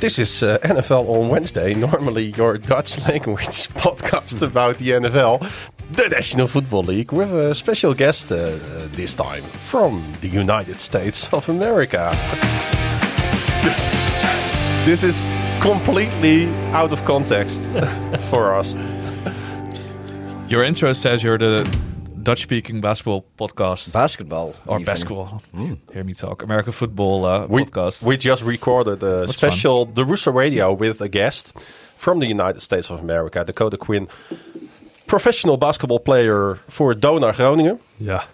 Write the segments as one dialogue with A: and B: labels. A: This is uh, NFL on Wednesday, normally your Dutch language podcast about the NFL, the National Football League, with a special guest uh, uh, this time from the United States of America. this, this is completely out of context for us.
B: Your intro says you're the Dutch speaking basketball podcast.
C: Basketball.
B: or
C: even. Mm.
B: basketball. Hear me talk. American football uh,
A: we,
B: podcast.
A: We just recorded a special The Rooster Radio with a guest from the United States of America, Dakota Quinn, professional basketball player for Donar Groningen.
D: Yeah.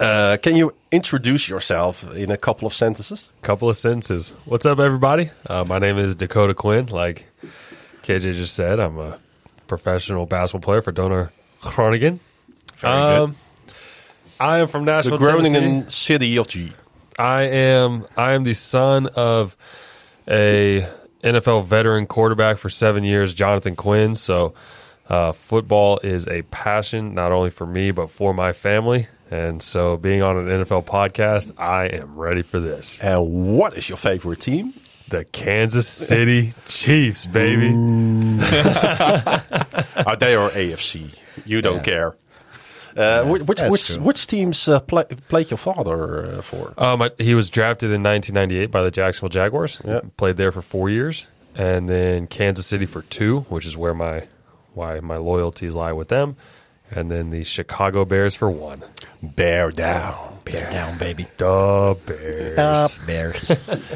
A: Uh, can you introduce yourself in a couple of sentences?
D: Couple of sentences. What's up, everybody? Uh, my name is Dakota Quinn. Like KJ just said, I'm a professional basketball player for Donor Groningen. Um, I am from
A: The
D: Nashville, Tennessee.
A: Groningen City of G.
D: I am. I am the son of a NFL veteran quarterback for seven years, Jonathan Quinn. So, uh, football is a passion not only for me but for my family. And so, being on an NFL podcast, I am ready for this.
A: And what is your favorite team?
D: The Kansas City Chiefs, baby.
A: Uh, they are AFC. You don't care. Uh, whi- which
C: that's
A: which
C: true.
A: which teams uh, play, played your father uh, for?
D: Um, I- he was drafted in 1998 by the Jacksonville Jaguars.
A: Yeah.
D: Played there for four years, and then Kansas City for two, which is where my why my loyalties lie with them, and then the Chicago Bears for one.
A: Bear down.
C: Bear down, baby.
D: The Bears.
C: Up, bears.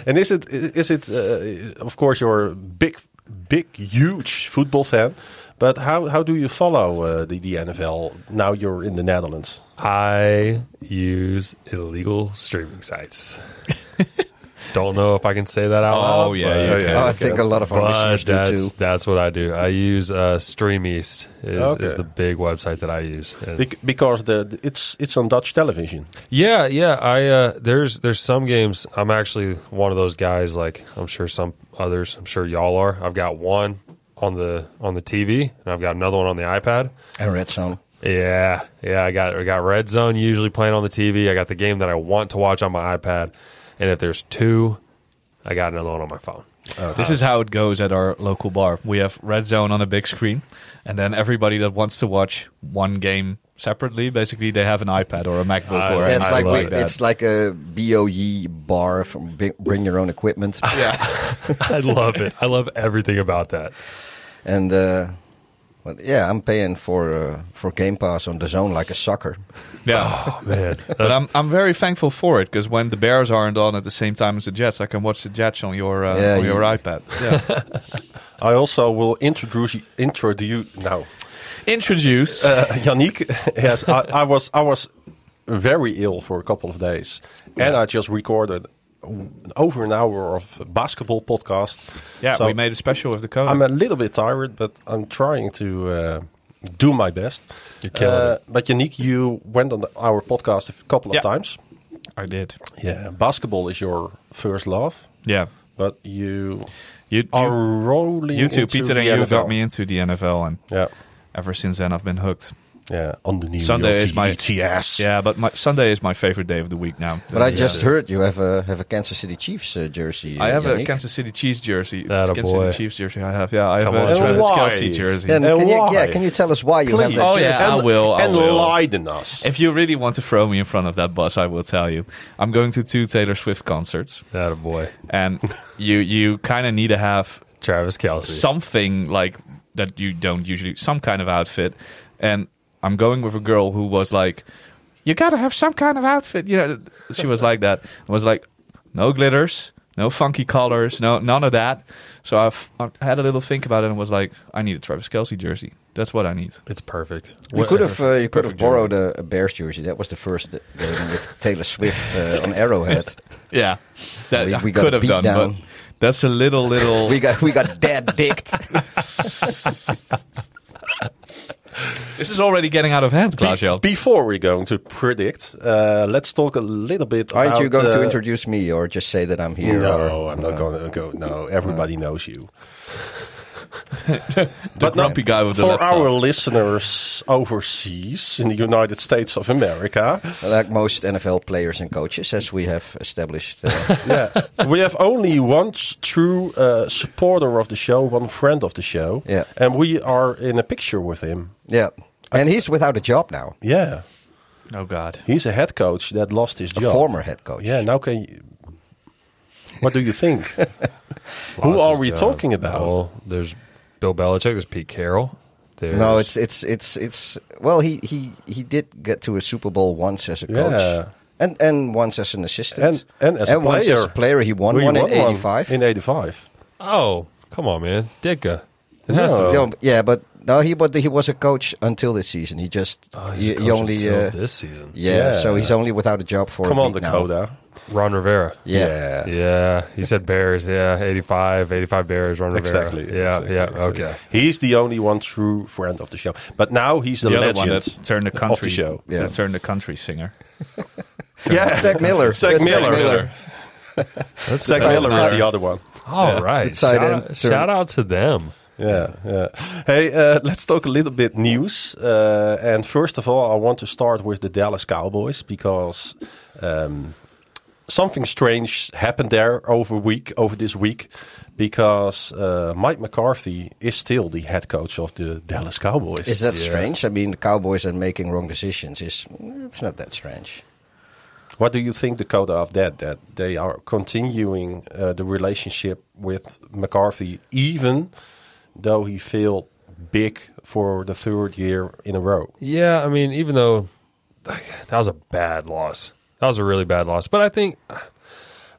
A: And is it is it uh, of course you're a big big huge football fan, but how how do you follow uh, the the NFL now you're in the Netherlands?
D: I use illegal streaming sites. Don't know if I can say that out loud.
B: Oh, yeah,
D: but-
B: you
A: Oh, yeah.
B: can.
C: Oh, I think a lot of our listeners
D: But
C: do
D: that's
C: too.
D: that's what I do. I use uh, Stream East is,
A: Okay.
D: is the big website that I use. And-
A: Bec- because the the- it's it's on Dutch television.
D: yeah, yeah. I uh, there's there's some games. I'm actually one of those guys. Like I'm sure some others. I'm sure y'all are. I've got one on the on the TV, and I've got another one on the iPad.
C: And red zone.
D: Yeah, yeah. I got I got Red Zone usually playing on the TV. I got the game that I want to watch on my iPad, and if there's two, I got another one on my phone.
B: This is how it goes at our local bar. We have Red Zone on a big screen, and then everybody that wants to watch one game separately, basically, they have an iPad or a MacBook
D: I-
B: or
D: Yeah,
B: an
C: it's
D: I
C: like
D: like
C: we, it's like a BOE bar from Bi- bring your own equipment.
D: I love it. I love everything about that.
C: and uh, well, yeah, I'm paying for uh, for Game Pass on the zone like a sucker.
B: yeah.
D: Man,
B: But I'm, I'm very thankful for it because when the Bears aren't on at the same time as the Jets, I can watch the Jets on your uh,
C: Yeah,
B: on your
C: you-
B: iPad. Yeah.
A: I also will introduce you- introduce now.
B: Introduce.
A: Uh, Yannick, yes, I, I was I was very ill for a couple of days, and I just recorded over an hour of basketball podcast.
B: yeah,
A: So-
B: we made a special with the code.
A: I'm a little bit tired, but I'm trying to uh, do my best.
D: You're killing
A: Uh, But Yannick, you went on the- our podcast a couple of
B: Yeah.
A: times.
B: I did.
A: Yeah, basketball is your first love,
B: Yeah.
A: but you
B: You,
A: are
B: you,
A: rolling.
B: you two,
A: into
B: Peter,
A: the
B: and you
A: NFL.
B: got me into the NFL, and
A: Yeah,
B: ever since then I've been hooked.
A: yeah. On the New
B: Sunday
A: York
B: is my-
A: GTS.
B: Yeah, but my, Sunday is my favorite day of the week now.
C: But I just heard you have a have a Kansas City Chiefs uh, jersey.
B: I
C: uh,
B: have a
C: Yannick.
B: Kansas City Chiefs jersey.
D: Thatta
B: Kansas
D: boy.
B: City Chiefs jersey. I have. Yeah, I have
D: Come
B: a
D: on.
B: Travis
A: Why?
B: Kelsey jersey.
C: And,
A: And
C: can you, yeah,
A: why?
C: can you tell us why you have
A: Please.
C: that?
B: Oh, yeah.
C: jersey?
B: I
A: and,
B: will, I
A: and
B: will.
A: lied in us.
B: if you really want to throw me in front of that bus, I will tell you. I'm going to two Taylor Swift concerts,
D: that a boy,
B: and you you kind of need to have
D: Travis Kelsey.
B: something like that you don't usually some kind of outfit and i'm going with a girl who was like you gotta have some kind of outfit you know she was like that i was like no glitters no funky colors no none of that so I've, i had a little think about it and was like i need a travis kelsey jersey that's what i need
D: it's perfect.
C: You could have uh, you could have
D: perfect jersey.
C: borrowed a, a Bears jersey. That was the first game with Taylor Swift uh, on Arrowhead.
B: yeah that
C: We-
B: I
C: we got
B: could
C: a
B: have done
C: beatdown.
B: but that's a little little
C: We got we got dead dicked.
B: this is already getting out of hand
A: Be-
B: Claudio.
A: before we're going to predict, uh, let's talk a little bit.
C: Aren't you
A: about,
C: going to
A: uh,
C: introduce me or just say that I'm here?
A: No,
C: or-
A: I'm not going to go. No, everybody knows you.
B: The grumpy guy with the
A: for
B: laptop.
A: our listeners overseas in the United States of America,
C: Like most NFL players and coaches, as we have established. Uh,
A: yeah, we have only one s- true uh, supporter of the show, one friend of the show,
C: Yeah.
A: and we are in a picture with him.
C: yeah. And he's without a job now.
A: Yeah,
B: Oh God.
A: he's a head coach that lost his
C: A
A: job.
C: former head coach.
A: Yeah, now can you? What do you think? Who are we
D: Uh,
A: talking about?
D: Well, there's Bill Belichick. There's Pete Carroll. There's,
C: No, it's it's it's it's well he he he did get to a Super Bowl once as a coach.
A: Yeah.
C: And and once as an assistant.
A: And- and as a
C: once as
A: player.
C: a player he won
A: We
C: one
A: won
C: in 85.
A: In '85.
D: oh, come on, man, Dicka. It has
A: No.
D: to-
C: No, yeah, but no he but he was a coach until this season. He just
D: Oh, he's
C: he,
D: the
C: he
D: coach
C: only
D: until
C: uh,
D: this season.
C: yeah,
A: Yeah.
C: so he's only without a job for
A: Come
C: a
A: on,
C: week Now.
A: Dakota.
D: Ron Rivera.
C: Yeah.
D: Yeah, he said Bears. Yeah, 85, 85 Bears. Ron Rivera.
A: Exactly.
D: Yeah,
A: exactly,
D: yeah.
A: exactly.
D: Okay.
A: He's the only one true friend of the show, but now he's the,
B: The other
A: legend
B: one that turned the
A: of
B: country
A: show.
C: Yeah.
B: That turned the country singer.
A: Yeah,
C: Zach Miller.
A: Zach
C: That's Zach
A: Miller.
C: Miller.
D: That's
A: Zach
D: that's
A: Miller is
D: another-
A: the other one.
D: All right.
C: The tight
D: Shout,
C: end
D: out,
C: turn.
D: shout out to them.
A: Yeah, yeah. Hey, uh, let's talk a little bit news. Uh, and first of all, I want to start with the Dallas Cowboys because um, something strange happened there over week over this week because uh, Mike McCarthy is still the head coach of the Dallas Cowboys.
C: Is that strange? I mean, the Cowboys are making wrong decisions. Is it's not that strange.
A: What do you think, Dakota, of that? That they are continuing uh, the relationship with McCarthy, even though he failed big for the third year in a row.
D: Yeah, I mean, even though that was a bad loss, that was a really bad loss. But I think,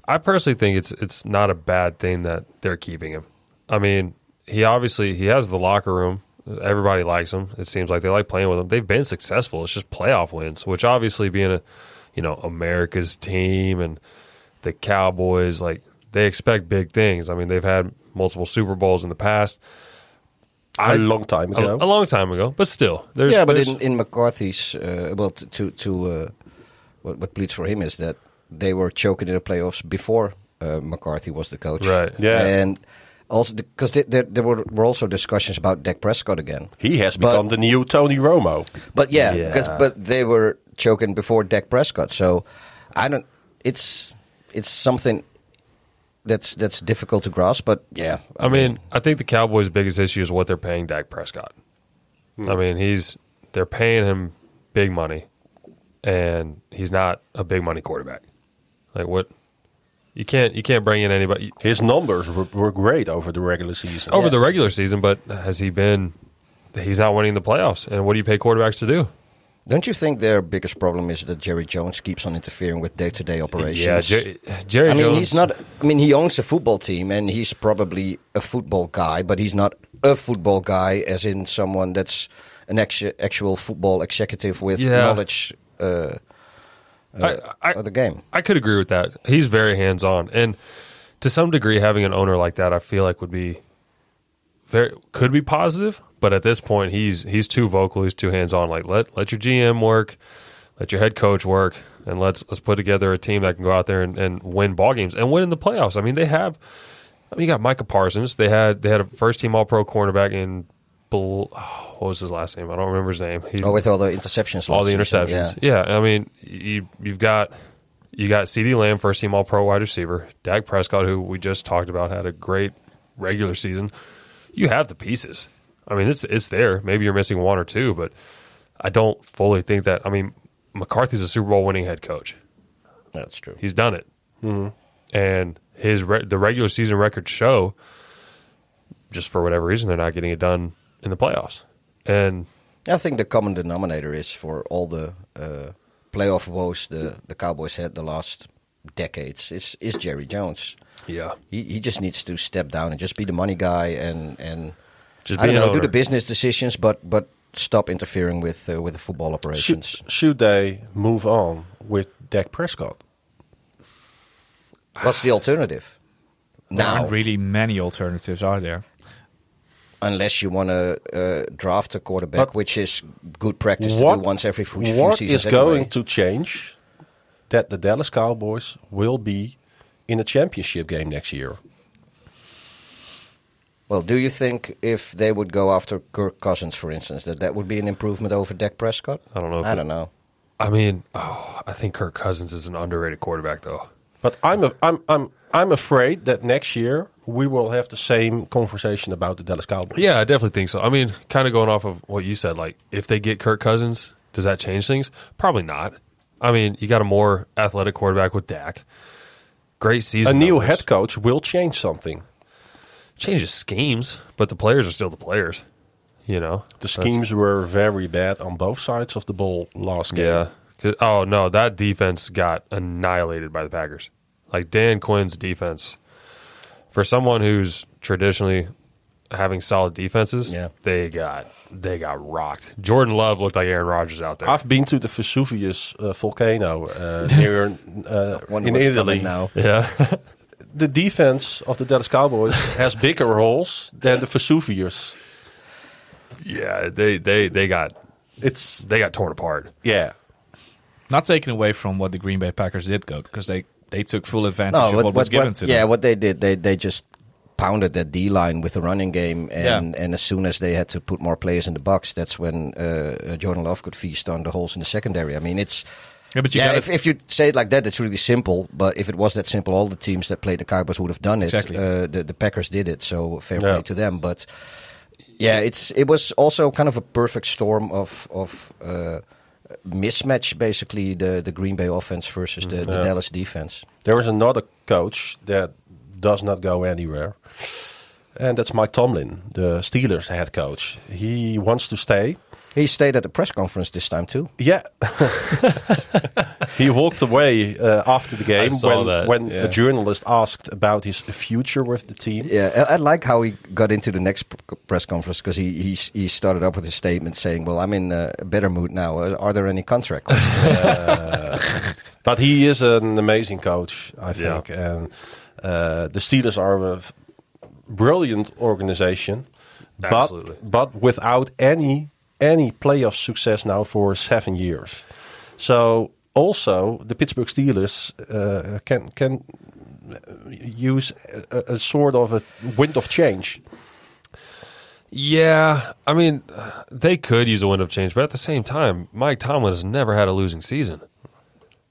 D: I personally think it's it's not a bad thing that they're keeping him. I mean, he obviously he has the locker room. Everybody likes him. It seems like they like playing with him. They've been successful. It's just playoff wins, which obviously being a you know America's team and the Cowboys, like they expect big things. I mean, they've had multiple Super Bowls in the past.
A: A long time
D: A,
A: ago.
D: a long time ago, but still, there's
C: yeah, but
D: there's-
C: in, in McCarthy's uh, well, to to, to uh, what, what pleads for him is that they were choking in the playoffs before uh, McCarthy was the coach,
D: Right.
A: Yeah.
C: and also because there there were, were also discussions about Dak Prescott again,
A: he has
C: But-
A: become the new Tony Romo.
C: but yeah,
D: Yeah.
C: 'cause- but they were choking before Dak Prescott, so I don't. It's it's something that's that's difficult to grasp, but yeah,
D: I mean, I think the Cowboys' biggest issue is what they're paying Dak Prescott.
C: Hmm.
D: I mean, he's they're paying him big money, and he's not a big money quarterback. Like what? You can't you can't bring in anybody
A: His numbers were, were great over the regular season.
D: over the regular season, but has he been? He's not winning the playoffs. And what do you pay quarterbacks to do?
C: Don't you think their biggest problem is that Jerry Jones keeps on interfering with day-to-day operations?
D: Yeah, Jerry, Jerry
C: I mean,
D: Jones.
C: he's not. I mean, he owns a football team, and he's probably a football guy, but he's not a football guy, as in someone that's an actu- actual football executive with
D: Yeah.
C: knowledge uh,
D: I, I,
C: of the game.
D: I could agree with that. He's very hands on, and to some degree, having an owner like that, I feel like would be very could be positive. But at this point, he's he's too vocal. He's too hands on. Like let let your GM work, let your head coach work, and let's let's put together a team that can go out there and, and win ball games and win in the playoffs. I mean, they have. I mean, you got Micah Parsons. They had they had a first team All Pro cornerback in. Bel- oh, what was his last name? I don't remember his name. He,
C: Oh, with all the interceptions,
D: all the
C: last season,
D: interceptions.
C: Yeah.
D: Yeah. I mean, you you've got you got CD Lamb, first team All Pro wide receiver, Dak Prescott, who we just talked about, had a great regular season. You have the pieces. I mean, it's it's there. Maybe you're missing one or two, but I don't fully think that. I mean, McCarthy's a Super Bowl winning head coach.
C: that's true.
D: He's done it,
C: Mm-hmm.
D: and his re- the regular season records show. Just for whatever reason, they're not getting it done in the playoffs, and
C: I think the common denominator is for all the uh, playoff woes the the Cowboys had the last decades is is Jerry Jones.
D: yeah,
C: He, he just needs to step down and just be the money guy and and
D: Just
C: I
D: be
C: don't
D: an
C: know, do
D: owner.
C: the business decisions, but but stop interfering with uh, with the football
A: Should,
C: operations.
A: should they move on with Dak Prescott?
C: What's the alternative
B: There
C: now?
B: aren't really many alternatives, are there?
C: unless you want to uh, draft a quarterback,
A: But
C: which is good practice to do once every few, few
A: what
C: seasons.
A: is going
C: anyway.
A: to change that the Dallas Cowboys will be in a championship game next year?
C: Well, do you think if they would go after Kirk Cousins, for instance, that that would be an improvement over Dak Prescott?
D: I don't know if
C: I
D: it-
C: don't know.
D: I mean, oh, I think Kirk Cousins is an underrated quarterback, though.
A: But I'm, a, I'm, I'm, I'm afraid that next year we will have the same conversation about the Dallas Cowboys.
D: Yeah, I definitely think so. I mean, kind of going off of what you said, like if they get Kirk Cousins, does that change things? Probably not. I mean, you got a more athletic quarterback with Dak. Great
A: A
D: season.
A: new
D: numbers.
A: head coach will change something.
D: changes schemes, but the players are still the players. You know
A: The
D: That's-
A: schemes were very bad on both sides of the ball last game.
D: Yeah. 'Cause- Oh no, that defense got annihilated by the Packers. Like Dan Quinn's defense, for someone who's traditionally having solid defenses,
C: Yeah.
D: they got they got rocked. Jordan Love looked like Aaron Rodgers out there.
A: I've been to the Vesuvius uh, volcano uh, near uh,
C: Wonder
A: in
C: what's
A: Italy.
C: coming now.
D: yeah,
A: The defense of the Dallas Cowboys has bigger holes than the Vesuvius.
D: yeah, they they they got
A: It's
D: they got torn apart.
A: yeah.
B: Not taken away from what the Green Bay Packers did, go because they they took full advantage
C: No,
B: of what, was given to
C: yeah,
B: them.
C: what they did, they they just pounded that D line with the running game, and
B: Yeah.
C: and as soon as they had to put more players in the box, that's when uh, uh, Jordan Love could feast on the holes in the secondary. I mean, it's.
B: Yeah, but you
C: yeah,
B: gotta-
C: if, if you say it like that, it's really simple. But if it was that simple, all the teams that played the Cowboys would have done it.
B: Exactly.
C: Uh, the, the Packers did it, so fair
A: Yeah.
C: play to them. But yeah, it's it was also kind of a perfect storm of of uh, mismatch, basically the the Green Bay offense versus the,
B: Mm,
C: the Dallas defense.
A: There is another coach that does not go anywhere, and that's Mike Tomlin, the Steelers head coach. He wants to stay.
C: He stayed at the press conference this time too.
A: Yeah, he walked away uh, after the game
D: saw
A: when,
D: that,
A: when
D: yeah.
A: a journalist asked about his future with the team.
C: Yeah, I, I like how he got into the next p- press conference because he, he s- he started up with a statement saying, "Well, I'm in uh, a better mood now. Uh, Are there any contract?" questions?"
A: But he is an amazing coach, I
D: Yeah.
A: think. And uh, the Steelers are a f- brilliant organization, but
D: Absolutely.
A: but without any any playoff success now for seven years. So also the Pittsburgh Steelers uh, can can uh, use a, a- a sort of a wind of change.
D: Yeah, I mean, they could use a window of change, but at the same time, Mike Tomlin has never had a losing season.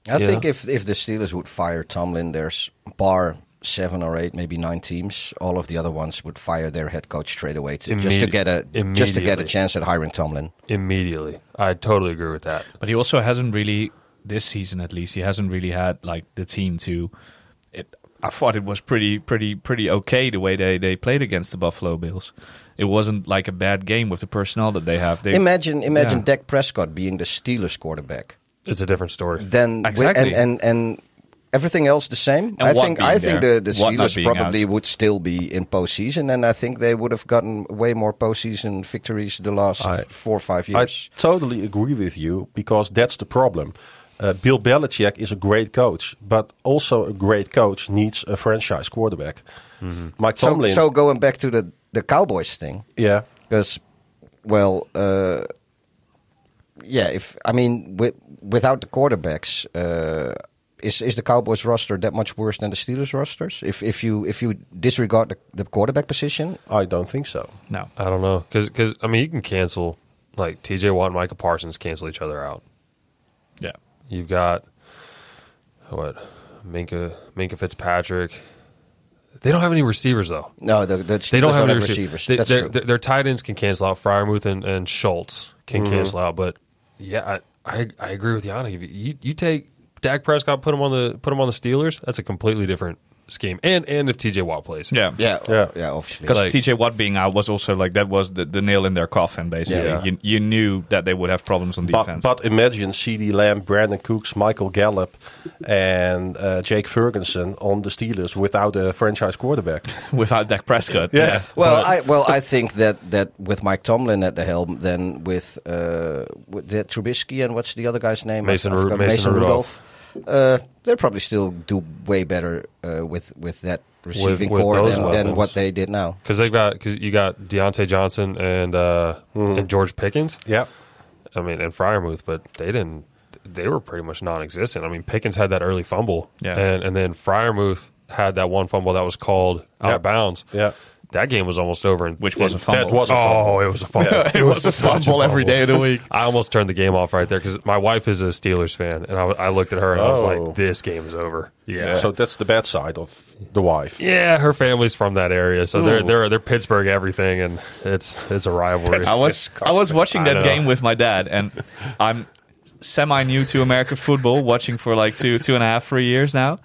C: I
D: Yeah.
C: think if if the Steelers would fire Tomlin, there's bar seven or eight, maybe nine teams. All of the other ones would fire their head coach straight away to, just to
D: Immedi-
C: get a just to get a
D: immediately.
C: chance at hiring Tomlin.
D: Immediately, I totally agree with that.
B: But he also hasn't really this season, at least, he hasn't really had like the team to. It, I thought it was pretty, pretty, pretty okay the way they, they played against the Buffalo Bills. It wasn't like a bad game with the personnel that they have. They,
C: Imagine imagine
B: Yeah.
C: Dak Prescott being the Steelers quarterback.
D: It's a different story.
C: Then wi-
B: Exactly.
C: and and and. Everything else the same. I
B: what
C: think
B: being
C: I think
B: there.
C: the, the
B: What not
C: Steelers
B: being
C: probably
B: out.
C: would still be in postseason, and I think they would have gotten way more postseason victories the last
A: I-
C: four or five
A: I
C: years.
A: totally agree with you because that's the problem. Uh, Bill Belichick is a great coach, but also a great coach needs a franchise quarterback.
D: Mm-hmm.
A: Mike
C: so,
A: Tomlin,
C: so going back to the the Cowboys thing,
A: yeah,
C: because well uh, yeah if i mean with, without the quarterbacks uh, is is the cowboys roster that much worse than the steelers rosters if if you if you disregard the, the quarterback position
A: I don't think so.
B: no,
D: I don't know, because I mean, you can cancel like T.J. Watt and Michael Parsons cancel each other out.
B: yeah,
D: You've got what Minka Minka Fitzpatrick. They don't have any receivers though.
C: no the, the
D: They
C: Steelers
D: don't have any receivers.
C: receivers
D: They-
C: that's
D: their,
C: true
D: their- their tight ends can cancel out. Fryermuth and, and Schultz can cancel out. But yeah, I, I, I agree with Yannick. If You, you you take Dak Prescott, put him on the put him on the Steelers. That's a completely different scheme. And and if T.J. Watt plays,
B: yeah,
C: yeah
A: Yeah.
C: yeah, yeah obviously
B: Because
D: Like-
B: TJ Watt being out was also like that was the, the nail in their coffin. Basically,
D: Yeah.
B: you, you knew that they would have problems on
A: But,
B: defense.
A: but imagine C.D. Lamb, Brandon Cooks, Michael Gallup, and uh, Jake Ferguson on the Steelers without a franchise quarterback.
B: without Dak Prescott,
A: Yes.
C: Well, I well I think that, that with Mike Tomlin at the helm, then with uh, with the Trubisky and what's the other guy's name?
D: Mason
C: I- I
D: Ru-
C: forgot.
D: Mason
C: Rudolph. Uh, they probably still do way better uh, with with that receiving
D: with
C: core
D: those
C: than, than
D: weapons.
C: what they did now.
D: Because they've got because you got Deontay Johnson and uh, and George Pickens.
A: yeah,
D: I mean, and Fryermuth, but they didn't. They were pretty much non-existent. I mean, Pickens had that early fumble,
B: Yeah.
D: and and then Fryermuth had that one fumble that was called out
A: Yeah.
D: of bounds.
A: yeah.
D: that game was almost over. And
B: Which was a fumble.
A: That was a fumble.
D: oh, it was a fumble.
B: it was a
D: such
B: fumble every day of the week.
D: I almost turned the game off right there because my wife is a Steelers fan, and I, I looked at her and I was
A: Oh.
D: like, "This game is over." Yeah,
A: So that's the bad side of the wife.
D: yeah. Her family's from that area, so they're
A: Ooh.
D: they're they're Pittsburgh everything, and it's it's a rivalry.
B: I was I was watching
D: I
B: that
D: know.
B: game with my dad, and I'm semi new to American football, watching for like two two and a half three years now,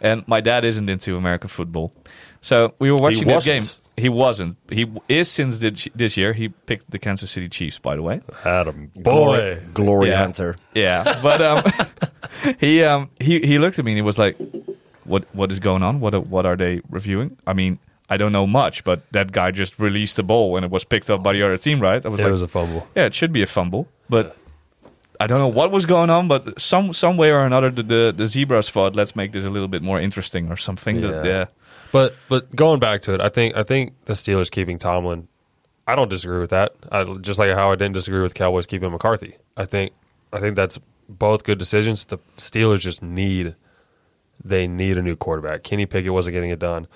B: and my dad isn't into American football, so we were watching that game.
A: wasn't.
B: He wasn't. He w- is since thi- this year. He picked the Kansas City Chiefs, by the way.
D: Adam
C: Glory,
D: boy.
C: glory
B: Yeah.
C: hunter.
B: Yeah, but um, he um he he looked at me and he was like, "What what is going on? What are- what are they reviewing? I mean." I don't know much, but that guy just released the ball and it was picked up by the other team, right? I was
D: It
B: like,
D: was a fumble.
B: yeah, it should be a fumble, but I don't know what was going on, but some some way or another, the the, the zebras thought, let's make this a little bit more interesting or something. That-
D: Yeah.
B: yeah.
D: But but going back to it, I think I think the Steelers keeping Tomlin, I don't disagree with that. I, just like how I didn't disagree with Cowboys keeping McCarthy. I think I think that's both good decisions. The Steelers just need they need a new quarterback. Kenny Pickett wasn't getting it done.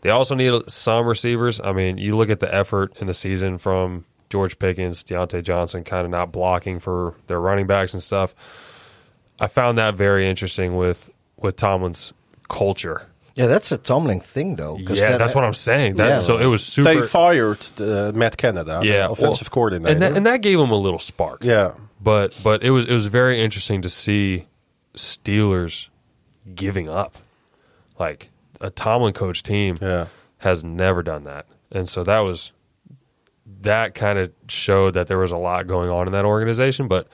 D: They also need some receivers. I mean, you look at the effort in the season from George Pickens, Deontay Johnson, kind of not blocking for their running backs and stuff. I found that very interesting with with Tomlin's culture.
C: Yeah, that's a Tomlin thing though. 'cause
D: Yeah,
C: that-
D: that's what I'm saying. That,
C: Yeah.
D: So it was super.
A: They fired uh, Matt Canada, the
D: yeah,
A: offensive
D: well,
A: coordinator.
D: and that, and that gave him a little spark.
A: yeah,
D: but but it was it was very interesting to see Steelers giving up. Like a Tomlin coach team
A: Yeah.
D: has never done that, and so that was that kind of showed that there was a lot going on in that organization. But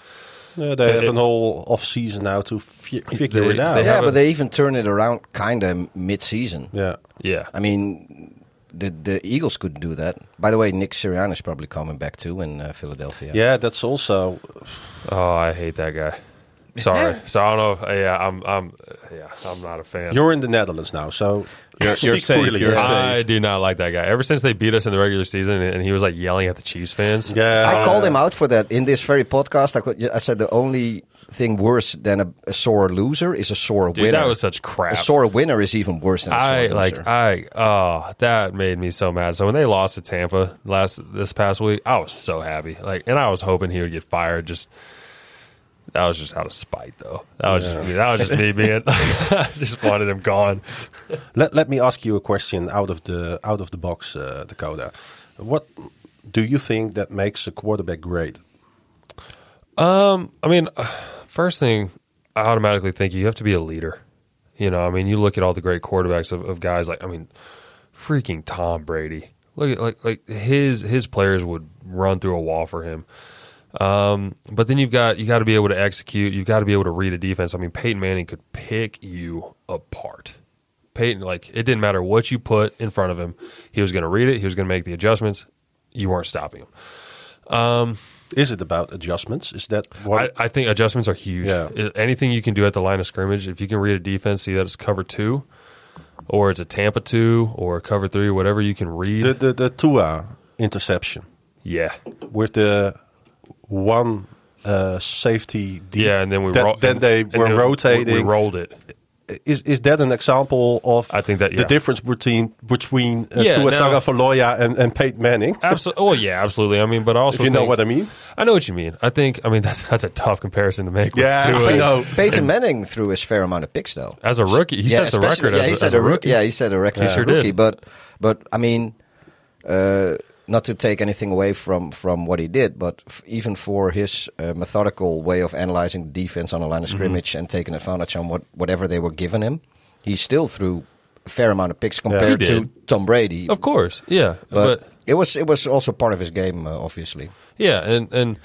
A: Yeah, they
D: It-
A: have
D: it-
A: an whole off season now to fi- figure
D: They-
A: it out.
D: they
A: yeah.
C: Yeah,
D: have a-
C: but they even turn it around kind of mid-season.
A: yeah,
D: yeah,
C: I mean, the the Eagles couldn't do that. By the way, Nick Sirianni is probably coming back too in uh, Philadelphia.
A: that's also
D: oh, I hate that guy. Sorry, so I don't know. If, yeah, I'm I'm yeah, I'm not a fan.
A: you're in the Netherlands now, so
B: You're- you're
A: speak
B: safe,
A: freely. Uh,
B: you're
A: yeah.
B: safe.
D: I do not like that guy. Ever since they beat us in the regular season, and he was like yelling at the Chiefs fans.
A: Yeah.
C: I called him out for that in this very podcast. I, could, I said the only thing worse than a, a sore loser is a sore
D: Dude,
C: winner.
D: that was such crap.
C: a sore winner is even worse than a sore
D: I
C: loser.
D: like I oh that made me so mad. So when they lost to Tampa last this past week, I was so happy. Like, and I was hoping he would get fired. Just that was just out of spite, though. That was just me. that was just me being. I just wanted him gone.
A: Let, let me ask you a question out of the out of the box, uh, Dakota. What do you think that makes a quarterback great?
D: I mean, uh, first thing I automatically think you have to be a leader. You know, I mean, you look at all the great quarterbacks of, of guys like I mean, freaking Tom Brady. Look at like like his his players would run through a wall for him. Um, but then you've got you got to be able to execute. You've got to be able to read a defense. I mean, Peyton Manning could pick you apart. Peyton, like it didn't matter what you put in front of him, he was going to read it. He was going to make the adjustments. You weren't stopping him.
A: Is it about adjustments? Is that
D: I,
A: what?
D: I think adjustments are huge.
A: Yeah.
D: I- Anything you can do at the line of scrimmage, if you can read a defense, see that it's cover two, or it's a Tampa two, or a cover three, whatever you can read.
A: the the the Tua interception
D: yeah,
A: with the one uh, safety. deep,
D: yeah, and then we
A: that-
D: ro-
A: then
D: and-
A: they
D: and
A: were
D: then we-
A: rotating.
D: We rolled it.
A: is is that an example of
D: I think that,
A: the
D: yeah.
A: difference between between uh,
D: Yeah,
A: Tua
D: now-
A: Tagovailoa and and Peyton Manning?
D: Absolutely. Oh yeah, absolutely. I mean, but I also
A: If you know
D: think-
A: what I mean.
D: I know what you mean. I think. I mean, that's that's a tough comparison to make. with
A: Yeah,
D: Tua.
A: I know.
C: Peyton Manning threw his fair amount of picks though.
D: As a rookie, he set the
C: especially-
D: record
C: yeah,
D: as,
C: he
D: a,
C: set
D: as a
C: roo-
D: rookie.
C: Yeah, he set a record
D: He
C: as a
D: sure did.
C: rookie. But but I mean, uh, not to take anything away from from what he did, but f- even for his uh, methodical way of analyzing defense on the line of
D: Mm-hmm.
C: scrimmage and taking advantage on what whatever they were giving him, he still threw a fair amount of picks compared
D: He
C: to
D: did.
C: Tom Brady.
D: Of course. Yeah,
C: but,
D: but
C: it was it was also part of his game, uh, obviously.
D: Yeah, and and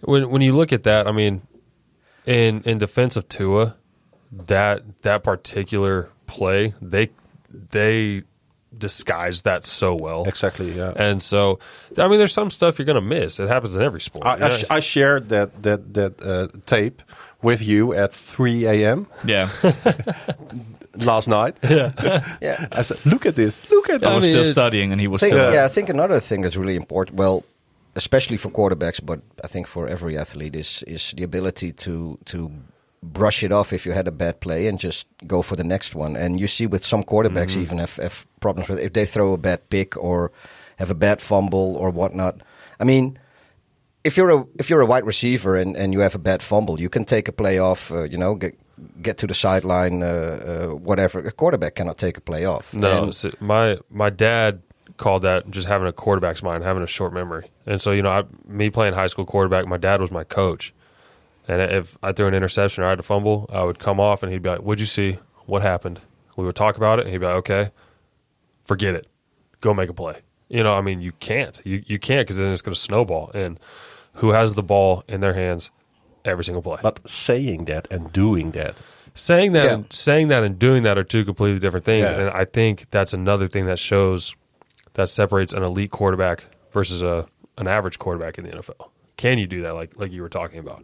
D: when when you look at that, I mean, in in defense of Tua, that that particular play, they they disguised that so well.
A: Exactly. Yeah.
D: And so, I mean, there's some stuff you're gonna miss. It happens in every sport.
A: I, I, sh- I shared that that that uh, tape with you at 3 a.m.
B: Yeah,
A: last night.
C: Yeah.
A: I said, "Look at this! Look at
B: I was
D: mean,
B: still
D: it's-
B: studying, and he was
C: think,
B: still.
C: yeah, I think another thing that's really important, well, especially for quarterbacks, but I think for every athlete is is the ability to to brush it off if you had a bad play and just go for the next one. And you see with some quarterbacks even have, have problems with if they throw a bad pick or have a bad fumble or whatnot. I mean, if you're a if you're a wide receiver and, and you have a bad fumble, you can take a play off. Uh, you know, get get to the sideline, uh, uh, whatever. A quarterback cannot take a play off.
D: No,
C: And-
D: so my my dad called that just having a quarterback's mind, having a short memory. And so you know, I, me playing high school quarterback, my dad was my coach. And if I threw an interception or I had a fumble, I would come off and he'd be like, "What'd you see? What happened?" We would talk about it, and he'd be like, "Okay, forget it, go make a play." You know, I mean, you can't, you you can't because then it's going to snowball. And who has the ball in their hands every single play?
A: But saying that and doing that.
D: saying that
C: Yeah.
D: and saying that and doing that are two completely different things
A: Yeah.
D: and i think that's another thing that shows that separates an elite quarterback versus a an average quarterback in the nfl can you do that like like you were talking about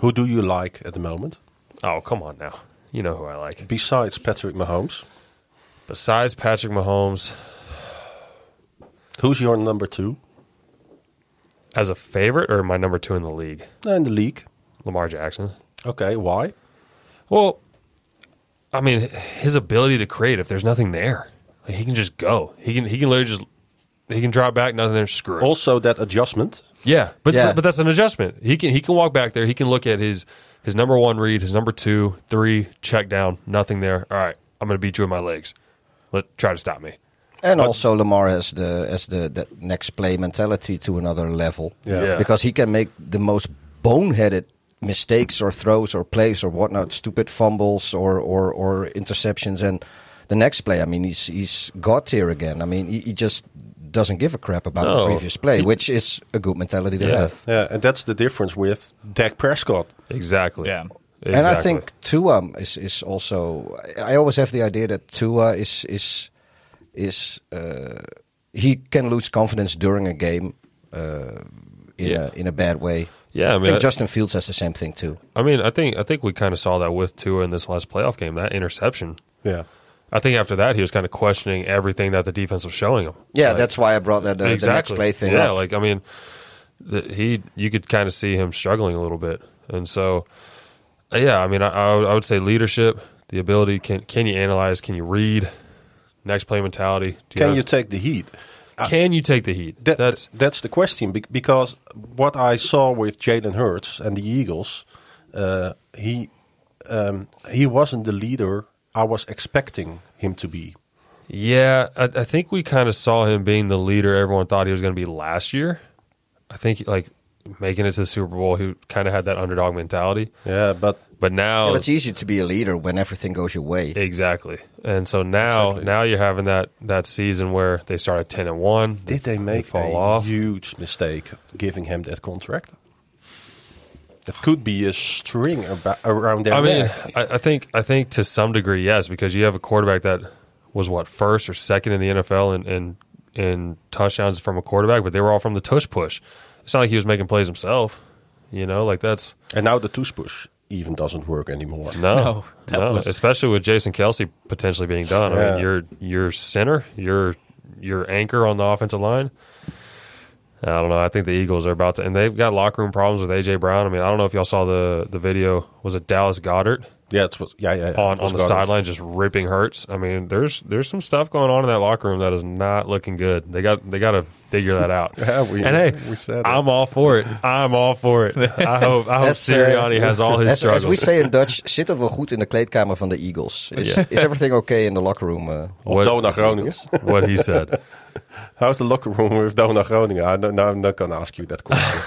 A: Who do you like at the moment?
D: oh come on now you know who i like
A: Besides Patrick Mahomes,
D: besides patrick mahomes
A: who's your number two
D: as a favorite or my number two in the league
A: in the league?
D: lamar jackson
A: Okay, why?
D: Well, I mean, his ability to create if there's nothing there, like, he can just go. He can he can literally just he can drop back, nothing there, screw it.
A: Also, that adjustment.
D: Yeah, but
C: Yeah.
D: but that's an adjustment. He can he can walk back there. He can look at his his number one read, his number two, three check down, nothing there. All right, I'm going to beat you with my legs. Let try to stop me.
C: And also Lamar has the has the, the next play mentality to another level.
A: Yeah.
D: Yeah.
C: Because he can make the most boneheaded mistakes or throws or plays or whatnot, stupid fumbles or, or, or interceptions and the next play, I mean he's he's god tier again. I mean he, he just doesn't give a crap about the
D: No.
C: previous play, which is a good mentality to
D: Yeah.
C: have.
A: Yeah, and that's the difference with Dak Prescott.
D: Exactly.
B: Yeah.
D: Exactly.
C: And I think Tua is is also. I always have the idea that Tua is is is uh, he can lose confidence during a game uh, in
D: Yeah.
C: a in a bad way.
D: Yeah, I
C: I
D: mean,
C: think
D: I,
C: Justin Fields has the same thing too.
D: I mean, I think I think we kind of saw that with Tua in this last playoff game. That interception.
A: Yeah.
D: I think after that he was kind of questioning everything that the defense was showing him.
C: Yeah,
D: Like,
C: that's why I brought that uh, the next
D: exactly.
C: play thing.
D: Yeah,
C: up.
D: like I mean, the, he you could kind of see him struggling a little bit, and so uh, yeah, I mean, I, I, would- I would say leadership, the ability can can you analyze, can you read, next play mentality. Do
A: Can
D: have-
A: you take the heat?
D: can you take the heat?
A: That,
D: that's
A: that's the question bec- because what I saw with Jalen Hurts and the Eagles, uh, he um, he wasn't the leader I was expecting him to be.
D: yeah. I, I think we kind of saw him being the leader everyone thought he was going to be last year. I think like making it to the Super Bowl, he kind of had that underdog mentality,
A: Yeah, but
D: but now
C: Yeah, but it's easy to be a leader when everything goes your way.
D: Exactly. And so now
A: Exactly.
D: now you're having that that season where they start at 10 and 1.
A: did they make
D: fall
A: a
D: off?
A: huge mistake giving him that contract? That could be a string aba- around their
D: I mean,
A: neck.
D: I, I think I think to some degree yes because you have a quarterback that was what first or second in the NFL in in, in touchdowns from a quarterback, but they were all from the tush push. It's not like he was making plays himself, you know, like that's
A: And now the tush push even doesn't work anymore.
D: no. No,
B: that was-
D: especially with Jason Kelsey potentially being done. I
A: Yeah.
D: mean, you're you're center, you're your anchor on the offensive line. I don't know. I think the Eagles are about to, and they've got locker room problems with AJ Brown. I mean, I don't know if y'all saw the the video. Was it Dallas Goddard
A: Yeah, it was yeah, yeah, yeah.
D: on
A: It was
D: on the
A: gone.
D: sideline just ripping Hurts? I mean, there's there's some stuff going on in that locker room that is not looking good. They got they got to figure that out.
A: Yeah, we-
D: and hey,
A: we said it.
D: I'm all for it. I'm all for it. I hope I hope
C: That's, uh,
D: Sirianni has all his
C: As,
D: struggles.
C: as we say in Dutch, zit het wel goed in de kleedkamer van de Eagles? Is,
D: Yeah.
C: is everything okay in the locker room? Uh,
A: Of
D: What-
A: Dona Groningen.
D: what he said.
A: How's the locker room with Dona Groningen? Ah, I don't, now I'm not going to ask you that question.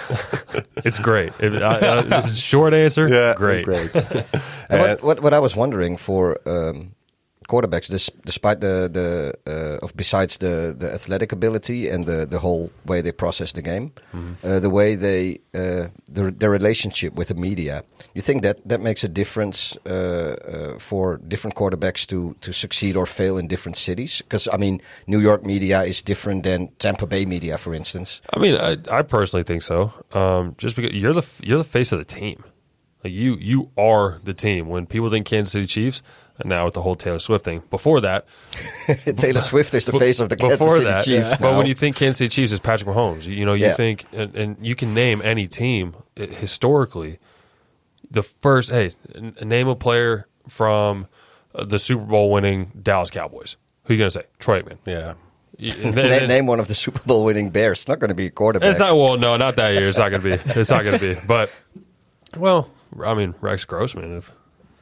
D: It's great. If, I, I, short answer,
A: yeah,
D: great.
A: great.
C: And
A: And-
C: what,
D: Uh,
C: what what I was wondering for um, quarterbacks, this, despite the the uh, of besides the the athletic ability and the the whole way they process the game,
D: Mm-hmm.
C: uh, the way they uh, their their relationship with the media, you think that that makes a difference uh, uh, for different quarterbacks to to succeed or fail in different cities? Because I mean, New York media is different than Tampa Bay media, for instance.
D: I mean, I, I personally think so. Um, just because you're the you're the face of the team, like you you are the team. When people think Kansas City Chiefs, and now with the whole Taylor Swift thing. Before that,
C: Taylor Swift is the face of the Kansas
D: before
C: City
D: that,
C: Chiefs.
D: but
C: now.
D: when you think Kansas City Chiefs is Patrick Mahomes, you, you know you
C: Yeah.
D: think and, and you can name any team eh, uh, historically the first. Hey, n- name a player from uh, the Super Bowl winning Dallas Cowboys. Who you gonna say? Troy Aikman.
A: Yeah.
D: Y- and
C: Na-
D: then-
C: name one of the Super Bowl winning Bears. It's not going to be a quarterback.
D: It's not well, no, not that year. It's not gonna be. It's not gonna be. But well, I mean Rex Grossman. If,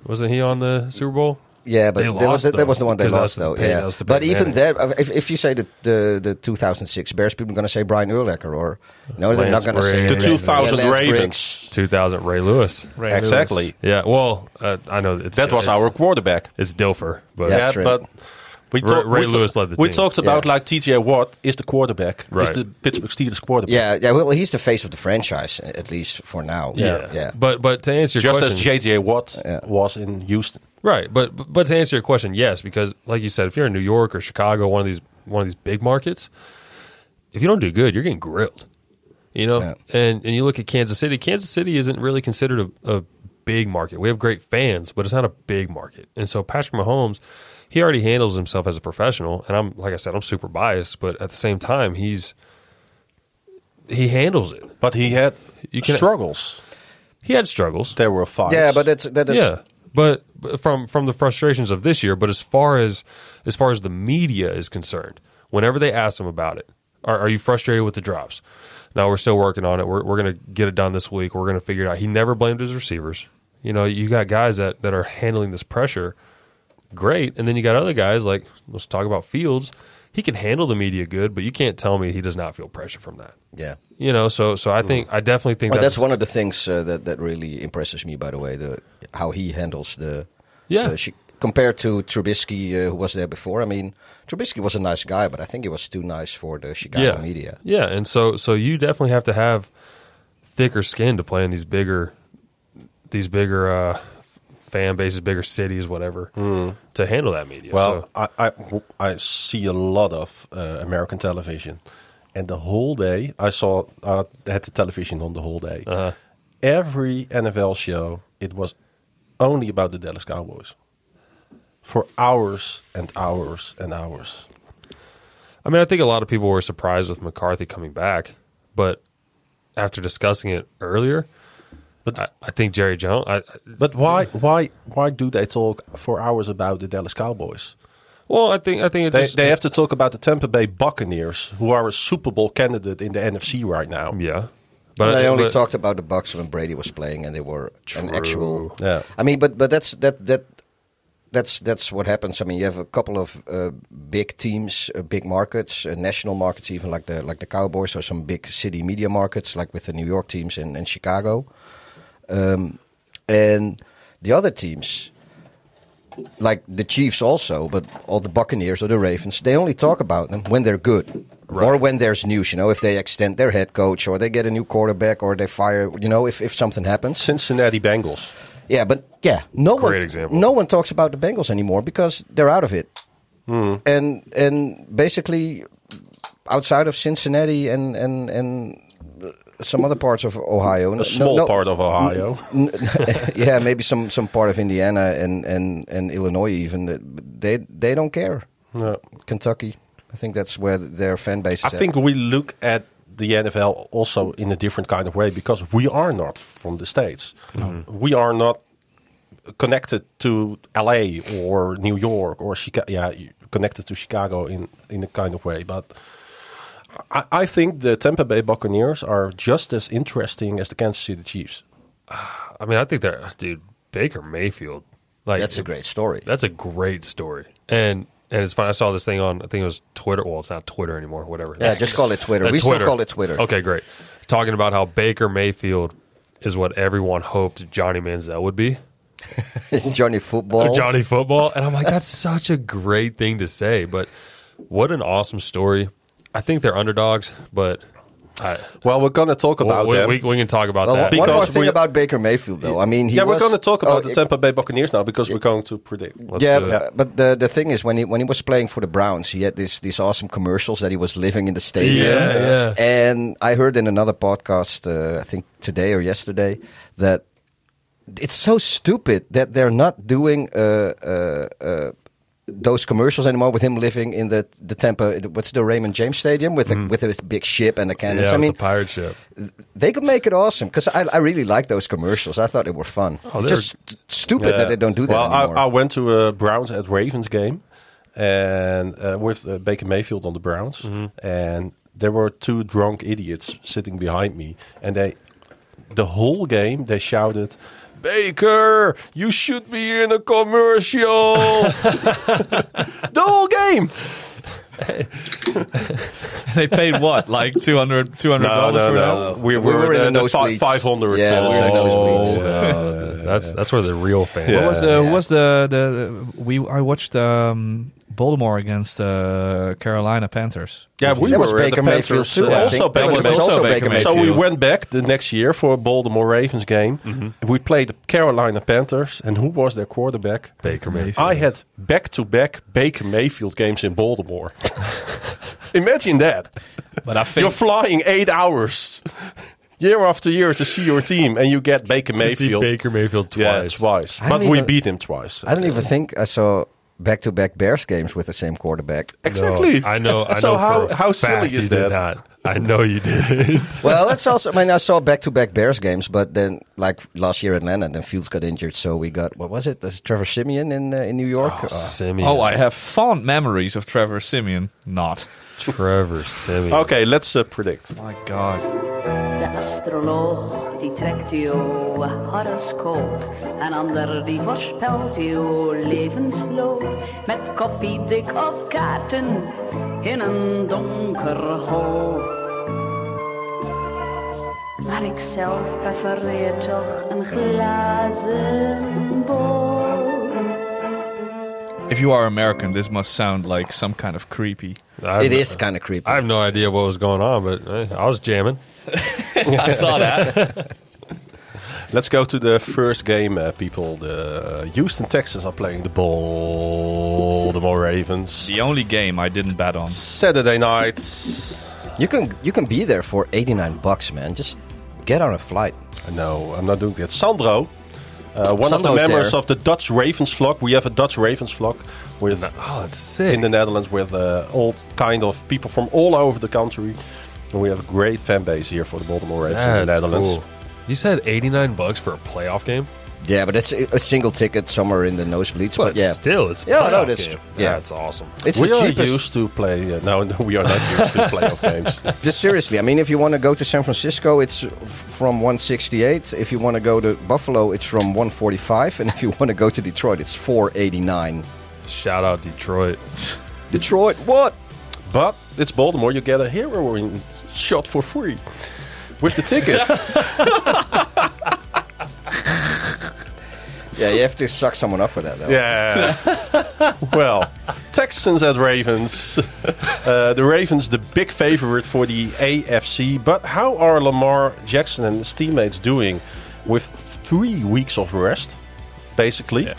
D: wasn't he on the Super Bowl?
C: yeah, but
D: They
C: that, was,
D: lost,
C: that, that was the
D: though,
C: one they
D: because that
C: lost,
D: was
C: though.
D: the Pey-
C: yeah,
D: that was the
C: but
D: Peyton
C: even
D: Manning.
C: that, if, if you say the, the the 2006 Bears, people are going to say Brian Urlacher, or no, they're not
D: Lance
C: going to say
D: Briggs.
A: The
D: The
C: Lance-
A: 2000
C: yeah, Lance Briggs.
A: Ravens.
D: 2000 Ray Lewis.
B: Ray Lewis.
A: Exactly.
D: Yeah. Well, uh, I know it's
A: That was
D: it's-
A: our quarterback.
D: It's Dilfer, but
C: Yeah.
A: Yeah,
C: That's right.
A: but we
D: Ray-
A: talk-
D: Ray
A: we
D: Lewis
A: ta-
D: led the
A: We
D: team.
A: talked about
C: Yeah.
A: like T.J. Watt is the quarterback. Is
D: Right.
A: the Pittsburgh Steelers quarterback?
C: Yeah, yeah. Well, he's the face of the franchise, at least for now.
D: yeah.
C: yeah.
D: But but to answer your
A: Just
D: question,
A: as J.J. Watt
C: Yeah.
A: was in Houston.
D: Right, but but to answer your question, yes, because like you said, if you're in New York or Chicago, one of these one of these big markets, if you don't do good, you're getting grilled. You know,
C: Yeah.
D: and and you look at Kansas City. Kansas City isn't really considered a, a big market. We have great fans, but it's not a big market. And so Patrick Mahomes, he already handles himself as a professional. And I'm like I said, I'm super biased, but at the same time, he's he handles it.
A: But he had
D: You can-
A: struggles.
D: He had struggles.
A: There were fights.
C: Yeah, but that's that is
D: yeah, but but from from the frustrations of this year. But as far as as far as the media is concerned, whenever they ask them about it, are, are you frustrated with the drops? No, we're still working on it. We're we're gonna get it done this week. We're gonna figure it out. He never blamed his receivers. You know, you got guys that that are handling this pressure great, and then you got other guys like let's talk about Fields. He can handle the media good, but you can't tell me he does not feel pressure from that.
C: yeah.
D: You know, so so I think I definitely think
C: Well,
D: that's,
C: that's one of the things uh, that that really impresses me. By the way, the how he handles the
D: Yeah.
C: the shi- compared to Trubisky, uh, who was there before. I mean, Trubisky was a nice guy, but I think he was too nice for the Chicago
D: yeah.
C: media.
D: Yeah, and so so you definitely have to have thicker skin to play in these bigger these bigger uh, fan bases, bigger cities, whatever, to handle that media.
A: Well,
D: so,
A: I, I, I see a lot of uh, American television, and the whole day I saw I had the television on the whole day.
D: Uh-huh.
A: Every NFL show, it was only about the Dallas Cowboys for hours and hours and hours.
D: I mean, I think a lot of people were surprised with McCarthy coming back, but after discussing it earlier,
A: But-
D: I, I think Jerry Jones. I, I-
A: But why why why do they talk for hours about the Dallas Cowboys?
D: well, I think I think it
A: They
D: just,
A: they have to talk about the Tampa Bay Buccaneers, who are a Super Bowl candidate in the NFC right now.
D: yeah,
C: But they only
D: but-
C: talked about the Bucks when Brady was playing, and they were an
D: True.
C: actual.
A: Yeah.
C: I mean, but but that's that that. That's that's what happens. I mean, you have a couple of uh, big teams, uh, big markets, uh, national markets, even like the like the Cowboys or some big city media markets, like with the New York teams and, and Chicago, um, and the other teams, like the Chiefs also, but all the Buccaneers or the Ravens, they only talk about them when they're good or when there's news. You know, if they extend their head coach or they get a new quarterback or they fire. You know, if if something happens.
A: Cincinnati Bengals.
C: Yeah, but yeah, no one
D: Great example.
C: no one talks about the Bengals anymore because they're out of it.
A: Hmm.
C: And and basically outside of Cincinnati and and and some other parts of Ohio,
A: A small part of Ohio.
C: yeah, maybe some some part of Indiana and and and Illinois even they they don't care.
A: No.
C: Kentucky, I think that's where their fan base is.
A: I
C: at.
A: think we look at the NFL also in a different kind of way because we are not from the states.
D: Mm-hmm.
A: We are not connected to LA or New York or Chicago. Yeah, you- connected to Chicago in in a kind of way, but. I, I think the Tampa Bay Buccaneers are just as interesting as the Kansas City Chiefs.
D: I mean, I think they're dude Baker Mayfield. Like
C: that's a great story.
D: That's a great story. And and it's funny. I saw this thing on. I think it was Twitter. Well, it's not Twitter anymore. Whatever.
C: Yeah, just call it Twitter.
D: Uh,
C: We still call it Twitter.
D: Okay, great. Talking about how Baker Mayfield is what everyone hoped Johnny Manziel would be.
C: Johnny football.
D: Johnny Football. And I'm like, that's such a great thing to say. But what an awesome story. I think they're underdogs, but I,
A: Well, we're going to talk about
D: we,
A: them.
D: we, we can talk about
C: Well,
D: that.
C: one more
A: Because
C: thing
A: we-
C: about Baker Mayfield, though. I mean, he
A: yeah,
C: was-
A: we're going to talk
C: oh,
A: about the
C: it-
A: Tampa Bay Buccaneers now because we're going to predict.
D: Let's
C: yeah,
D: do it.
C: but, but the the thing is when he when he was playing for the Browns, he had this these awesome commercials that he was living in the stadium.
D: Yeah, yeah.
C: And I heard in another podcast, uh, I think today or yesterday, that it's so stupid that they're not doing a, a, a uh, those commercials anymore with him living in the the Tampa what's the Raymond James Stadium with the, with his big ship and the cannons.
D: Mm-hmm.
C: I
D: yeah, with
C: mean,
D: the pirate ship.
C: they could make it awesome because I, I really like those commercials. I thought they were fun.
D: Oh,
C: it's
D: they're-
C: just st- stupid that they don't do that
A: well,
C: anymore.
A: I, I went to a Browns at Ravens game, and uh, with uh, Baker Mayfield on the Browns,
C: Mm-hmm.
A: and there were two drunk idiots sitting behind me, and they, the whole game, they shouted. Baker, you should be in a commercial. the whole game.
B: they paid what, like 200 $200 for that?
A: We,
C: We
A: were,
C: were in
A: in
C: the
A: the, fi-
C: nosebleeds.
A: 500.
C: Yeah,
A: so
C: we were in
A: actually-
C: nosebleeds.
A: yeah, Oh, yeah, yeah.
D: That's that's where the real fans.
A: Yeah.
B: What was the,
C: Yeah.
B: what was the, the we I watched um, Baltimore against uh, Carolina Panthers.
A: Yeah, we
C: That was
A: were at
C: Baker
A: the
C: Mayfield
A: Panthers,
C: too,
A: uh,
C: I
A: Also
C: think. That
A: Baker
C: was
A: Mayfield.
C: also
B: Also
C: Baker
B: Baker
A: So
C: Mayfield.
A: we
B: Mayfield.
A: went back the next year for a Baltimore Ravens game. We played the Carolina Panthers, and who was their quarterback?
D: Baker Mayfield.
A: I had back-to-back Baker Mayfield games in Baltimore. Imagine that.
B: But I
A: You're flying eight hours year after year to see your team, and you get Baker
D: to see
A: Mayfield.
D: Baker Mayfield twice.
A: Yeah, twice.
C: I
A: But
C: don't
A: we
C: even-
A: beat him twice.
C: I don't even think I saw back to back Bears games with the same quarterback.
A: Exactly.
D: No, I know. I
A: so
D: know.
A: how,
D: for a
A: how
D: fact
A: silly is
D: you did
A: that?
D: not. I know you did.
C: well, that's also. I mean, I saw back-to-back Bears games, but then like last year in Atlanta, then Fields got injured, so we got what was it? This Trevor Simeon in uh, in New York. Uh,
D: Simeon.
B: Oh, I have fond memories of Trevor Simeon. Not.
D: Trevor Simeon.
A: Okay, let's uh, predict.
B: My God.
E: De astroloog die trekt uw horoscoop en ander die voorspelt uw levensloop met koffiedik of kaarten in een donker hol. Maar ik zelf prefereer toch een glazen bol.
B: If you are American, this must sound like some kind of creepy.
D: I've-
C: it is kind of creepy.
D: I have no idea what was going on, but eh, I was jamming.
B: I saw that.
A: Let's go to the first game, uh, people. The uh, Houston Texans are playing the Baltimore Ravens.
B: the only game I didn't bet on.
A: Saturday night.
C: you can you can be there for eighty-nine bucks, man. Just get on a flight.
A: No, I'm not doing that. Sandro, uh, one of the
C: Sandro's
A: members
C: there.
A: of the Dutch Ravens flock. We have a Dutch Ravens flock with
D: Oh, it's sick.
A: in the Netherlands with uh, all kind of people from all over the country. And we have a great fan base here for the Baltimore Ravens in the
D: That's
A: Netherlands.
D: cool. You said 89 bucks for a playoff game?
C: Yeah, but it's a, a single ticket somewhere in the nosebleeds. But, yeah,
D: still, it's a
C: Yeah,
D: playoff
C: no, that's-
D: game.
C: yeah.
D: That's awesome.
C: it's
A: We
C: the
A: are
C: cheapest.
A: used to play. Uh, no, no, we are not used to playoff games.
C: Just seriously, I mean, if you want to go to San Francisco, it's f- from 168. If you want to go to Buffalo, it's from 145, and if you want to go to Detroit, it's 489.
D: Shout out Detroit.
A: Detroit, what? But it's Baltimore. You get a heroin shot for free with the ticket.
C: Yeah, you have to suck someone up for that, though.
A: yeah. well, Texans at Ravens. Uh, the Ravens, the big favorite for the AFC. But how are Lamar Jackson and his teammates doing with three weeks of rest, basically?
B: Yeah.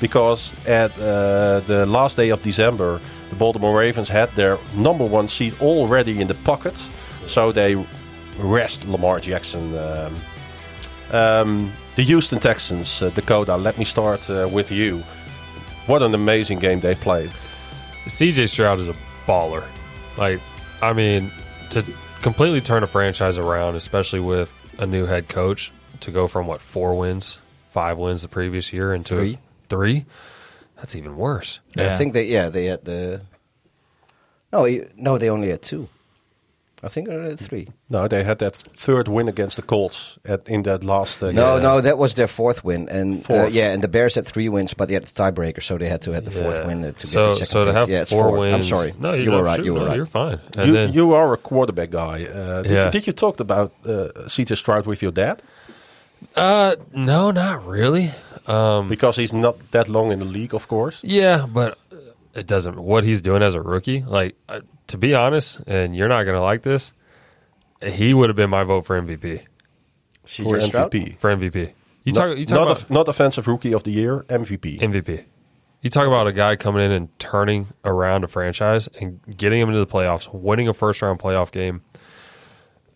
A: Because at uh, the last day of December, the Baltimore Ravens had their number one seed already in the pocket. So they rest Lamar Jackson. Um, um, the Houston Texans, uh, Dakota, let me start uh, with you. What an amazing game they played.
D: CJ Stroud is a baller. Like, I mean, to completely turn a franchise around, especially with a new head coach, to go from what four wins, five wins the previous year into
C: Three.
D: three? That's even worse.
C: I
B: Yeah.
C: think they, yeah, they had the. No, he- no, they only had two. I think they had three.
A: No, they had that third win against the Colts at, in that last. Uh,
C: No,
A: game.
C: no, that was their fourth win, and uh,
A: Fourth.
C: yeah, and the Bears had three wins, but they had the tiebreaker, so they had to have the fourth
D: Yeah.
C: win to get
D: so,
C: the second.
D: so to
C: pick.
D: have
C: yeah, it's
D: four, wins.
C: I'm sorry,
D: No,
C: you
D: you're
C: were
D: not-
C: right.
D: shoot,
C: You were
D: no,
C: right.
D: You're fine. And
A: You,
D: then,
A: you are a quarterback guy. Uh, did,
D: Yeah.
A: did you talk about uh, CJ Stroud with your dad?
D: uh, no, not really.
A: Because he's not that long in the league, of course.
D: Yeah, but uh, it doesn't. What he's doing as a rookie, like uh, to be honest, and you're not gonna like this. He would have been my vote for MVP.
A: For
C: CJ Stroud?
A: MVP.
D: For MVP. You
A: No-
D: talk. You talk
A: not,
D: about
A: of- not offensive rookie of the year, MVP.
D: MVP. You talk about a guy coming in and turning around a franchise and getting him into the playoffs, winning a first round playoff game.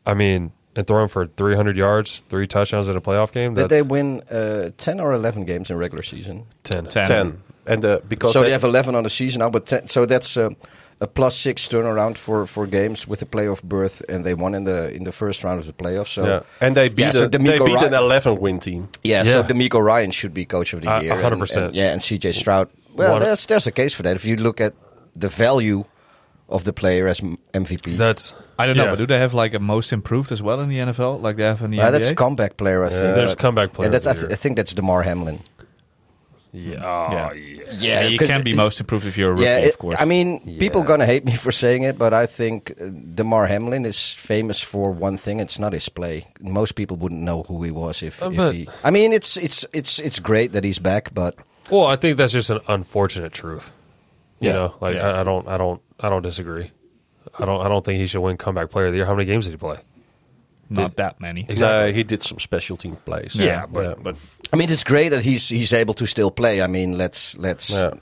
D: I mean, and throwing for 300 yards, three touchdowns in a playoff game.
C: Did
D: That's
C: they win uh, ten or eleven games in regular season?
D: 10.
B: 10.
A: Ten. and uh, because
C: so they
A: they-
C: have 11 on the season now, but ten, so that's um, a plus six turnaround for, for games with the playoff berth, and they won in the in the first round of the playoffs. So
A: yeah. and they beat,
C: Yeah, so
A: a, they
C: D'Amico
A: beat an
C: Ryan-
A: 11 win team.
C: Yeah,
D: Yeah.
C: so D'Amico Ryan should be coach of the
D: Uh,
C: year. and-
D: 100%.
C: and- yeah, and CJ Stroud. Well,
D: One-
C: there's there's a case for that if you look at the value of the player as m- MVP.
D: That's
B: I don't know,
D: yeah.
B: but do they have like a most improved as well in the NFL, like they have in the
C: Uh,
B: NBA?
C: that's comeback player, I think.
D: There's
C: Uh,
D: comeback player
C: Yeah, that's,
D: of
C: I,
D: the
C: th-
D: year.
C: I think that's Demar Hamlin.
B: Oh, yeah.
C: Yeah,
B: you
C: because-
B: can be most improved if you're a rookie,
C: Yeah, it-
B: of course.
C: I mean, people gonna hate me for saying it, but I think uh, Demar Hamlin is famous for one thing. It's not his play. Most people wouldn't know who he was if,
D: Uh,
C: if
D: but-
C: he. I mean, it's it's it's it's great that he's back, but
D: Well, I think that's just an unfortunate truth. You
C: Yeah.
D: know, like
B: Yeah.
D: I, I don't, I don't, I don't disagree. I don't, I don't think he should win comeback player of the year. How many games did he play?
B: Not that many.
A: No, he did some special team plays.
B: Yeah,
A: but
C: I mean, it's great that he's he's able to still play. I mean, let's let's.
A: yeah.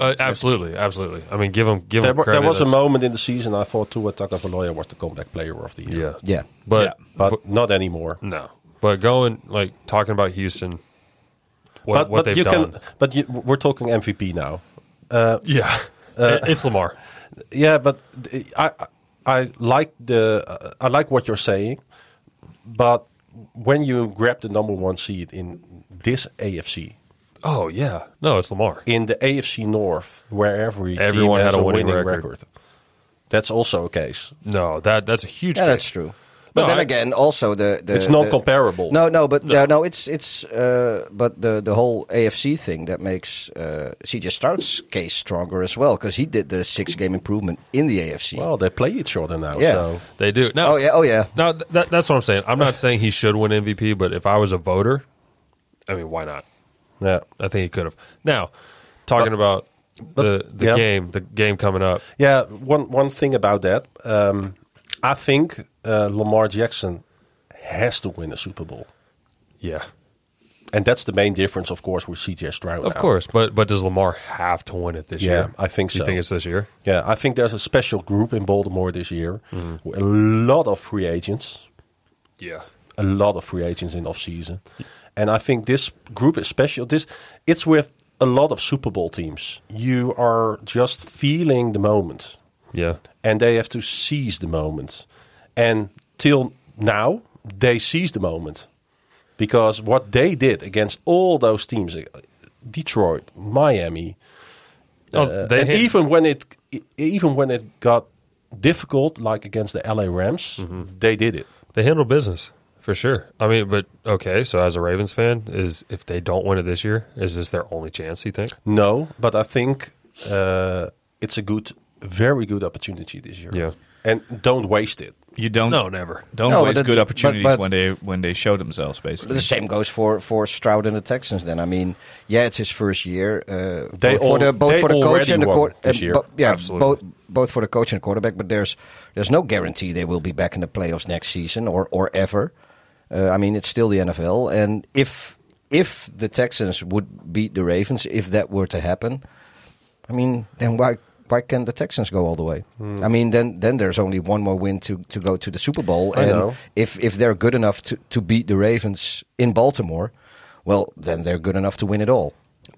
D: Uh, absolutely, absolutely. I mean, give him, give
A: There,
D: him.
A: wa-
D: Credit
A: there was a
D: That's-
A: moment in the season I thought Tua Tagovailoa was the comeback player of the year.
D: Yeah,
C: Yeah.
D: But,
B: Yeah.
A: but, not anymore.
D: no, but going like talking about Houston, what,
A: but
D: what
A: but
D: they've
A: you
D: done.
A: can. uh, But you, we're talking MVP now.
D: yeah, It- it's Lamar.
A: Yeah, but th- I I I like the uh, I like what you're saying, but when you grab the number one seed in this AFC,
D: Oh yeah, no, it's Lamar.
A: in the AFC North, where every
D: Everyone
A: team has
D: had a
A: a
D: winning
A: winning,
D: record.
A: record. that's also a case.
D: No, that that's a huge.
C: Yeah,
D: pick.
C: that's true. But
D: No,
C: then
D: I-
C: again, also the, the
A: It's not
C: the-
A: comparable.
C: No, no, but no, no it's it's uh, but the the whole AFC thing that makes uh, CJ Stroud's case stronger as well because he did the six game improvement in the AFC.
A: Well, they play each other now.
C: Yeah.
A: So
D: They do. No,
C: oh yeah, oh yeah.
D: No, th- that, that's what I'm saying. I'm not saying he should win MVP, but if I was a voter, I mean, why not?
A: yeah,
D: I think he could have. Now, talking about the the
A: yeah.
D: game, the game coming up.
A: yeah. One one thing about that, um, I think uh, Lamar Jackson has to win a Super Bowl,
D: Yeah,
A: and that's the main difference, of course, with CJ Stroud.
D: of
A: now.
D: course. But but does Lamar have to win it this
A: Yeah,
D: year?
A: I think
D: Do
A: so.
D: You think it's this year?
A: Yeah, I think there's a special group in Baltimore this year.
D: Mm-hmm.
A: with A lot of free agents,
D: Yeah.
A: a lot of free agents in off season, and I think this group is special. This it's with a lot of Super Bowl teams. You are just feeling the moment,
D: Yeah.
A: and they have to seize the moment. And till now, they seize the moment because what they did against all those teams, eh, Detroit, Miami, uh,
D: Oh,
A: and
D: hit-
A: even when it e- even when it got difficult, like against the LA Rams,
D: Mm-hmm.
A: they did it.
D: They handle business for sure. I mean, but okay. So as a Ravens fan, is if they don't win it this year, is this their only chance? You think?
A: No, but I think uh, it's a good, very good opportunity this year.
D: Yeah.
A: and don't waste it.
B: you don't
D: No, never.
B: don't
C: No, but
B: waste
C: that-
B: good
C: but-
B: opportunities
C: but-
B: when they when they show themselves basically.
C: The same goes for, for Stroud and the Texans. Then I mean, yeah, it's his first year. Uh,
A: They
C: both
A: al-
C: for the both
A: they
C: for the coach
A: already
C: and the
A: won
C: quarter-
A: this
C: uh,
A: year.
C: bo- yeah,
D: Absolutely.
C: both both for the coach and the quarterback. But there's there's no guarantee they will be back in the playoffs next season or or ever. Uh, I mean, it's still the NFL, and if if the Texans would beat the Ravens, if that were to happen, I mean, then why? Why can the Texans go all the way?
A: Hmm.
C: I mean, then then there's only one more win to, to go to the Super Bowl,
A: I
C: and
A: know.
C: if if they're good enough to, to beat the Ravens in Baltimore, well, then they're good enough to win it all.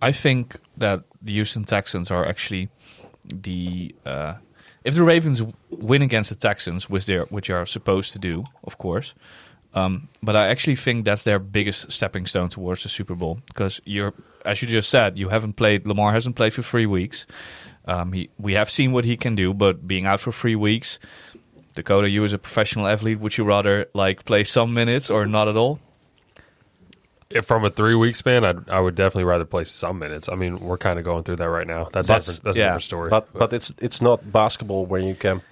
B: I think that the Houston Texans are actually the uh, if the Ravens w- win against the Texans, which they are, which are supposed to do, of course. Um, but I actually think that's their biggest stepping stone towards the Super Bowl because you're, as you just said, you haven't played. Lamar hasn't played for three weeks. Um, he, we have seen what he can do, but being out for three weeks, Dakota, you as a professional athlete, would you rather like play some minutes or not at all?
D: If from a three week span, I'd, I would definitely rather play some minutes. I mean, we're kind of going through that right now. That's
B: That's-
D: different, that's
B: yeah.
D: a different story.
A: But but it's it's not basketball where you can.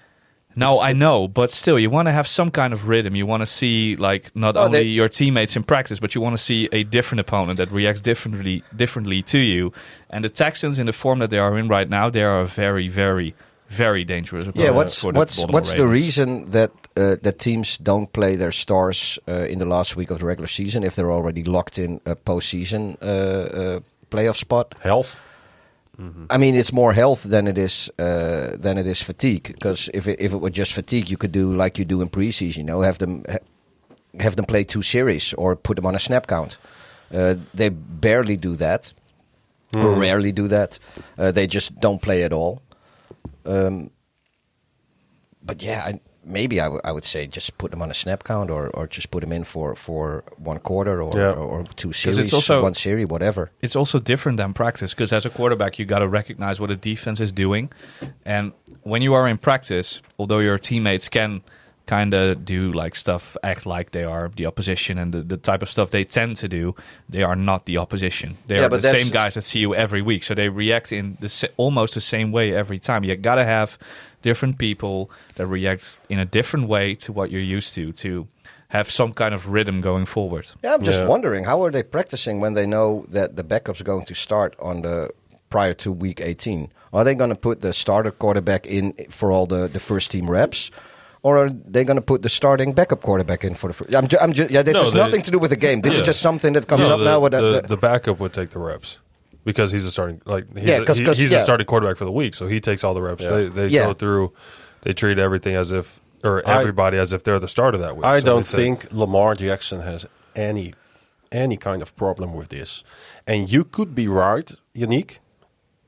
B: No, I know, but still, you want to have some kind of rhythm. You want to see, like, not
C: Oh,
B: only
C: they-
B: your teammates in practice, but you want to see a different opponent that reacts differently differently to you. And the Texans, in the form that they are in right now, they are a very, very, very dangerous.
C: Yeah,
B: opponent
C: what's
B: for the
C: what's
B: Baltimore
C: what's the
B: Ravens.
C: reason that uh, that teams don't play their stars uh, in the last week of the regular season if they're already locked in a postseason uh, uh, playoff spot?
A: Health.
C: Mm-hmm. I mean, it's more health than it is uh, than it is fatigue. Because if it, if it were just fatigue, you could do like you do in preseason. You know, have them ha- have them play two series or put them on a snap count. Uh, they barely do that. Rarely do that. Uh, they just don't play at all. Um, but yeah, I, maybe I, w- I would say just put them on a snap count or, or just put them in for, for one quarter or,
A: Yeah.
C: or, or two series,
B: also-
C: one series, whatever.
B: it's also different than practice because as a quarterback you got to recognize what a defense is doing and when you are in practice although your teammates can kind of do like stuff act like they are the opposition and the, the type of stuff they tend to do they are not the opposition they
C: Yeah,
B: are
C: but
B: the
C: that's-
B: same guys that see you every week so they react in the sa- almost the same way every time you got to have different people that react in a different way to what you're used to to have some kind of rhythm going forward
C: Yeah, I'm just
A: Yeah.
C: wondering how are they practicing when they know that the backup's going to start on the prior to week 18? Are they going to put the starter quarterback in for all the, the first team reps? Or are they going to put the starting backup quarterback in for the first? I'm ju- I'm ju- yeah, this
D: No,
C: has
D: they-
C: nothing to do with the game. This
D: Yeah.
C: is just something that comes
D: No,
C: up
D: the,
C: now. With
D: the,
C: that,
D: the, backup would take the reps because he's a starting like he's
C: Yeah,
D: a,
C: 'cause-
D: he-
C: 'cause,
D: he's
C: yeah.
D: a starting quarterback for the week, so he takes all the reps.
A: Yeah.
D: They they
C: Yeah.
D: go through, they treat everything as if or
A: I-
D: everybody as if they're the starter that week.
A: I
D: So
A: don't
D: it's a-
A: think Lamar Jackson has any any kind of problem with this. And you could be right, Yannick,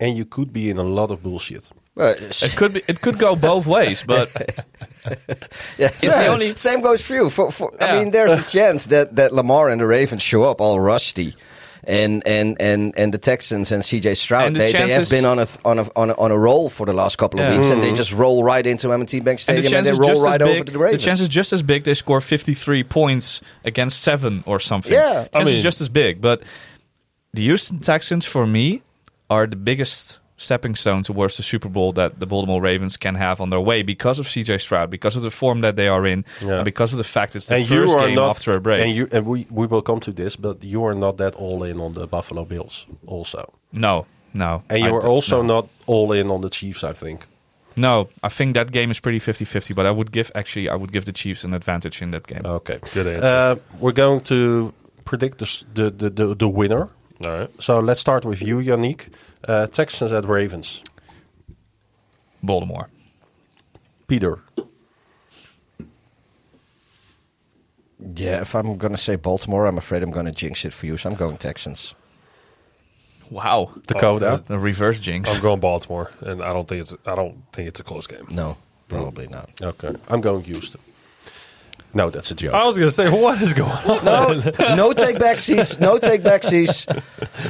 A: and you could be in a lot of bullshit.
C: uh,
B: it could be it could go both ways but
C: yeah,
B: the
C: yeah,
B: only-
C: same goes for you. For, for,
B: Yeah.
C: I mean, there's a chance that, that Lamar and the Ravens show up all rusty, and and and, and the Texans and CJ Stroud
B: And the
C: they, they have
B: chances-
C: been on a th- on a on a, on a roll for the last couple of
B: Yeah. Mm-hmm.
C: weeks, and they just roll right into M&T Bank Stadium and,
B: chance is
C: they roll
B: just as
C: right
B: big,
C: over to the Ravens.
B: chance is just as big. They score fifty-three points against seven or something.
C: Yeah.
B: chance
D: I mean-
B: is just as big. But the Houston Texans, for me, are the biggest stepping stone towards the Super Bowl that the Baltimore Ravens can have on their way because of CJ Stroud, because of the form that they are in,
A: Yeah.
B: and because of the fact it's the
A: and
B: first
A: you are
B: game
A: not
B: after a break.
A: And you and we, we will come to this, but you are not that all in on the Buffalo Bills also.
B: no, no,
A: And
B: I
A: you are
B: don't-
A: also
B: no.
A: not all in on the Chiefs, I think.
B: No, I think that game is pretty 50-50, But I would give actually, I would give the Chiefs an advantage in that game.
A: Okay.
D: Good answer.
A: Uh, we're going to predict the, s- the, the, the, the winner.
D: All right.
A: So let's start with you, Yannick. Uh, Texans at Ravens.
B: Baltimore.
A: Peter.
C: yeah, if I'm gonna say Baltimore, I'm afraid I'm gonna jinx it for you, so I'm going Texans.
B: Wow,
A: Dakota.
B: a reverse
A: Oh,
B: jinx.
D: I'm going Baltimore, and I don't think it's I don't think it's a close game.
C: No, probably not.
A: Okay. I'm going Houston. No, that's a joke.
D: I was gonna say what is going on.
C: no take backsies. No take backsies.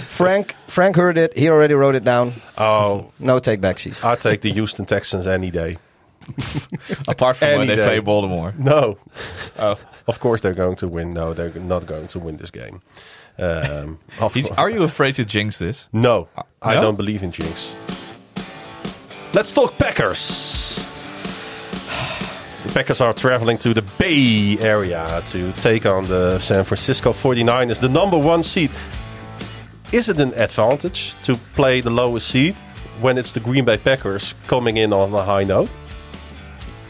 C: Frank Frank heard it. He already wrote it down.
A: Oh,
C: No take backsies.
A: I take the Houston Texans any day.
B: Apart from when
A: Any
B: they
A: day.
B: play Baltimore.
A: No,
B: Oh.
A: of course they're going to win. No, they're not going to win this game. Um, of course.
B: Are you afraid to jinx this?
A: No, I
B: no?
A: don't believe in jinx. Let's talk Packers. The Packers are traveling to the Bay Area to take on the San Francisco 49ers, the number one seed. Is it an advantage to play the lowest seed when it's the Green Bay Packers coming in on a high note?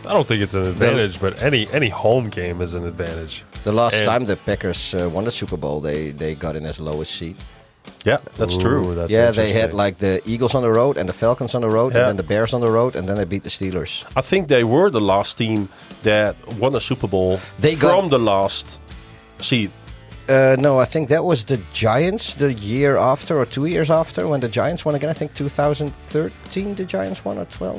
D: I don't think it's an advantage, but any any home game is an advantage.
C: The last
D: And-
C: time the Packers uh, won the Super Bowl, they they got in as lowest seed.
A: Yeah, that's true.
D: Ooh, that's
C: yeah, they had
D: interesting.
C: like the Eagles on the road and the Falcons on the road
A: Yeah.
C: and then the Bears on the road and then they beat the Steelers.
A: I think they were the last team that won a Super Bowl
C: They got-
A: from the last seed.
C: Uh, no, I think that was the Giants the year after or two years after when the Giants won again. I think 2013 the Giants won or 12.
D: I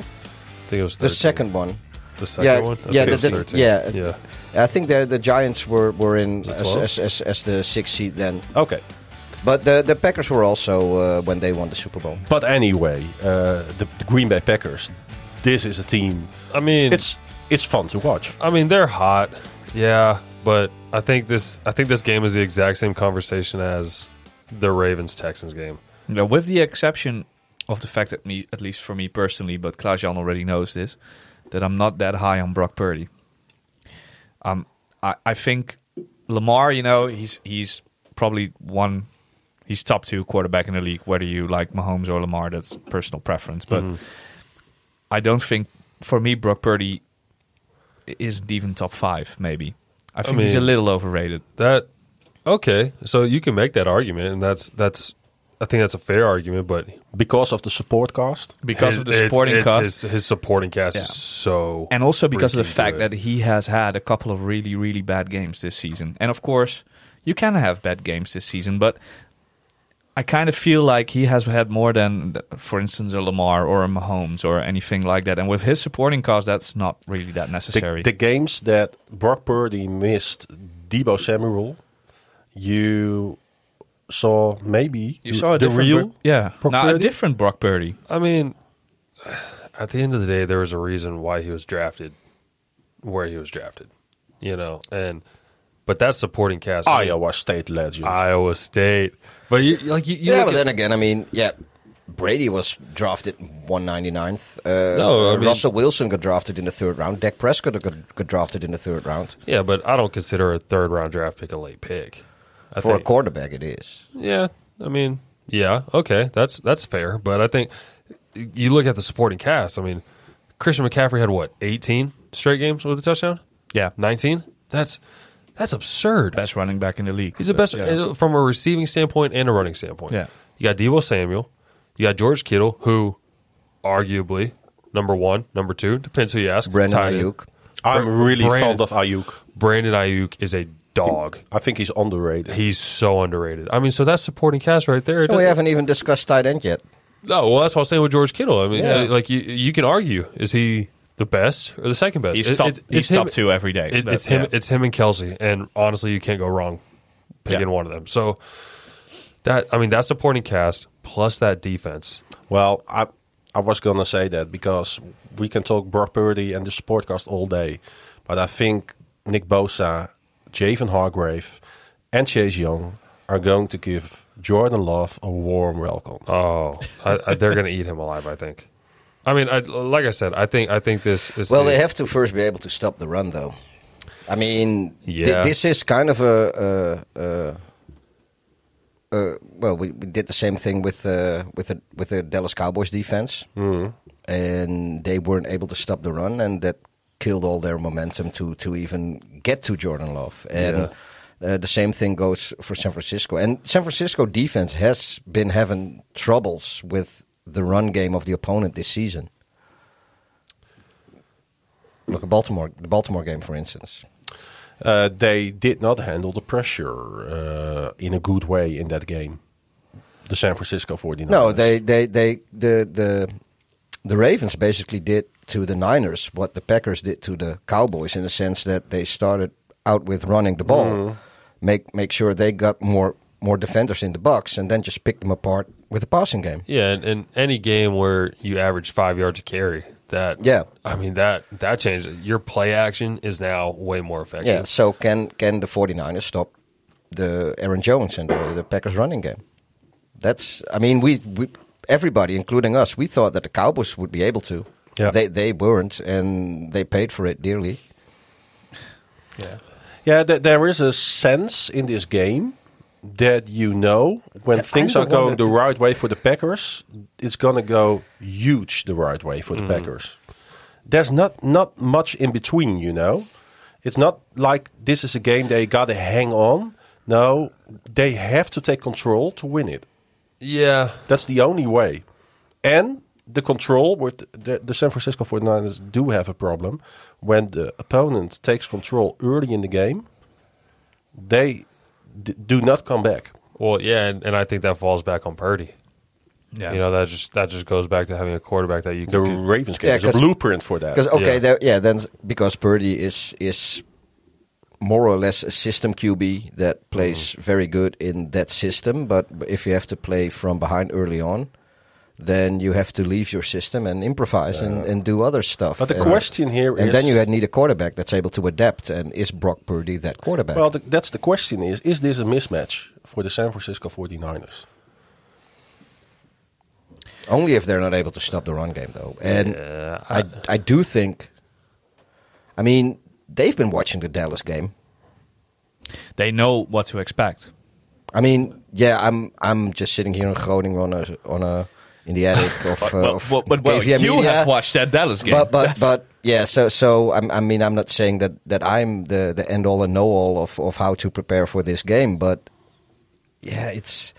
D: think it was
C: The
D: 13.
C: second one.
D: the second
C: yeah,
D: one. I
C: yeah,
D: think it
C: the-
D: was
C: the-
D: 13.
C: yeah.
D: yeah.
C: I think the the Giants were, were in
D: it
C: as,
D: 12?
C: as, as, as the sixth seed then.
A: Okay.
C: But the, the Packers were also uh, when they won the Super Bowl.
A: But anyway, uh, the, the Green Bay Packers. This is a team.
D: I mean,
A: It's it's fun to watch.
D: I mean, they're hot. Yeah, but I think this I think this game is the exact same conversation as the Ravens Texans game.
B: No, with the exception of the fact that me, at least for me personally, but Klaas-Jan already knows this, that I'm not that high on Brock Purdy. Um, I, I think Lamar, you know, he's he's probably one, he's top two quarterback in the league. Whether you like Mahomes or Lamar, that's personal preference. But
A: Mm-hmm.
B: I don't think for me Brock Purdy i- isn't even top five. Maybe I think he's a
D: mean-
B: little overrated.
D: That okay, so you can make that argument, and that's that's I think that's a fair argument, but
A: Because of the support cast.
B: because
D: his-
B: of the
D: it's-
B: supporting
D: it's-
B: cast
D: his, his supporting cast
B: Yeah.
D: is so
B: and also because of the
D: freaking
B: fact
D: good.
B: that he has had a couple of really really bad games this season and of course you can have bad games this season but I kind of feel like he has had more than, for instance, a Lamar or a Mahomes or anything like that. And with his supporting cast, that's not really that necessary.
A: The, the games that Brock Purdy missed Debo Samuel, you saw maybe
B: you saw a
A: the
B: different
A: real.
B: Brock- yeah,
A: Brock
B: now a
A: Purdy?
B: different Brock Purdy.
D: I mean, at the end of the day, there was a reason why he was drafted where he was drafted, you know, and but that supporting cast,
B: Oh,
D: I mean,
A: Iowa State legend.
B: Ah,
D: Iowa State, but you like you, you
C: yeah,
D: look
C: but
D: at-
C: then again, I mean, yeah, Brady was drafted 199th. Uh,
D: No, I
C: uh,
D: mean-
C: Russell Wilson got drafted in the third round. Dak Prescott got, got drafted in the third round.
D: yeah, but I don't consider a third round draft pick a late pick. I
C: For a
D: think-
C: quarterback, it is.
D: Yeah, I mean, yeah, okay, that's that's fair. But I think you look at the supporting cast. I mean, Christian McCaffrey had what eighteen straight games with a touchdown,
B: Yeah,
D: nineteen. That's that's absurd.
B: best running back in the league.
D: He's the best
B: Yeah.
D: uh, from a receiving standpoint and a running standpoint.
B: Yeah.
D: you got Debo Samuel, you got George Kittle, who arguably number one, number two depends who you ask.
C: Brandon
D: tight end.
C: Ayuk.
A: I'm really
D: Brandon-
A: fond of Ayuk.
D: Brandon Ayuk is a dog.
A: I think he's underrated.
D: He's so underrated. I mean, so that's supporting cast right there. It
C: And we
D: doesn't-
C: haven't even discussed tight end yet.
D: No, well, that's what I was saying with George Kittle. I mean,
C: Yeah.
D: uh, like you, you can argue is he the best or the second best?
B: He's
D: It-
B: top,
D: it's-
B: he's
D: it's him-
B: top two every day.
D: it-
B: That's-
D: it's him.
B: yeah.
D: It's him and Kelsey, and honestly, you can't go wrong picking
B: Yeah.
D: one of them. So that I mean, that supporting cast plus that defense.
A: Well, I I was gonna say that because we can talk Brock Purdy and this podcast all day, but I think Nick Bosa, Javen Hargrave, and Chase Young are going to give Jordan Love a warm welcome.
D: Oh, I, I, they're gonna eat him alive. I think. I mean, I, like I said, I think I think this is
C: Well,
D: the-
C: they have to first be able to stop the run, though. I mean, thi-
D: Yeah.
C: this is kind of a. a, a uh, well, we, we did the same thing with uh, with the with the Dallas Cowboys defense, and they weren't able to stop the run, and that killed all their momentum to to even get to Jordan Love. And uh, the same thing goes for San Francisco. And San Francisco defense has been having troubles with the run game of the opponent this season. Look at Baltimore, the Baltimore game, for instance.
A: Uh, they did not handle the pressure uh, in a good way in that game. The San Francisco 49ers.
C: No, they, they, they, the, the, the Ravens basically did to the Niners what the Packers did to the Cowboys in the sense that they started out with running the ball, make make sure they got more more defenders in the box, and then just pick them apart with the passing game.
D: yeah, and, and any game where you average five yards a carry. That
C: Yeah.
D: I mean that that changes. Your play action is now way more effective.
C: Yeah. So can can the 49ers stop the Aaron Jones and the, the Packers running game? That's I mean we, we everybody including us we thought that the Cowboys would be able to.
A: Yeah.
C: They they weren't and they paid for it dearly.
A: Yeah, th- there is a sense in this game that you know when
C: Yeah,
A: things
C: I'm
A: are
C: the one
A: going
C: that-
A: the right way for the Packers, it's gonna go huge the right way for the
C: Mm.
A: Packers. There's not not much in between, you know. It's not like this is a game they gotta hang on. No, they have to take control to win it.
D: yeah.
A: That's the only way. And the control with the, the San Francisco 49ers do have a problem when the opponent takes control early in the game. They d- do not come back.
D: Well, yeah, and, and I think that falls back on Purdy.
B: Yeah.
D: You know, that just that just goes back to having a quarterback that you
A: The
D: can.
A: Ravens game
C: Yeah,
A: is a
C: 'cause-
A: blueprint for that.
C: Because okay,
D: Yeah.
C: yeah. yeah, then because Purdy is is more or less a system QB that plays
A: Mm-hmm.
C: very good in that system. But if you have to play from behind early on, then you have to leave your system and improvise and, and do other stuff.
A: But the
C: And-
A: question here
C: and
A: is-
C: then you need a quarterback that's able to adapt. And is Brock Purdy that quarterback?
A: Well, the, that's the question is, is this a mismatch for the San Francisco 49ers?
C: Only if they're not able to stop the run game, though. And I, I do think, I mean, they've been watching the Dallas game.
B: They know what to expect.
C: I mean, yeah, I'm I'm just sitting here in Groningen on a on a in the attic of, uh,
B: well,
C: of
B: well, but well, you
C: KVM Media.
B: have watched that Dallas game.
C: But but
B: That's-
C: but yeah, so so I'm, I mean, I'm not saying that that I'm the the end all and know all of of how to prepare for this game, but yeah, it's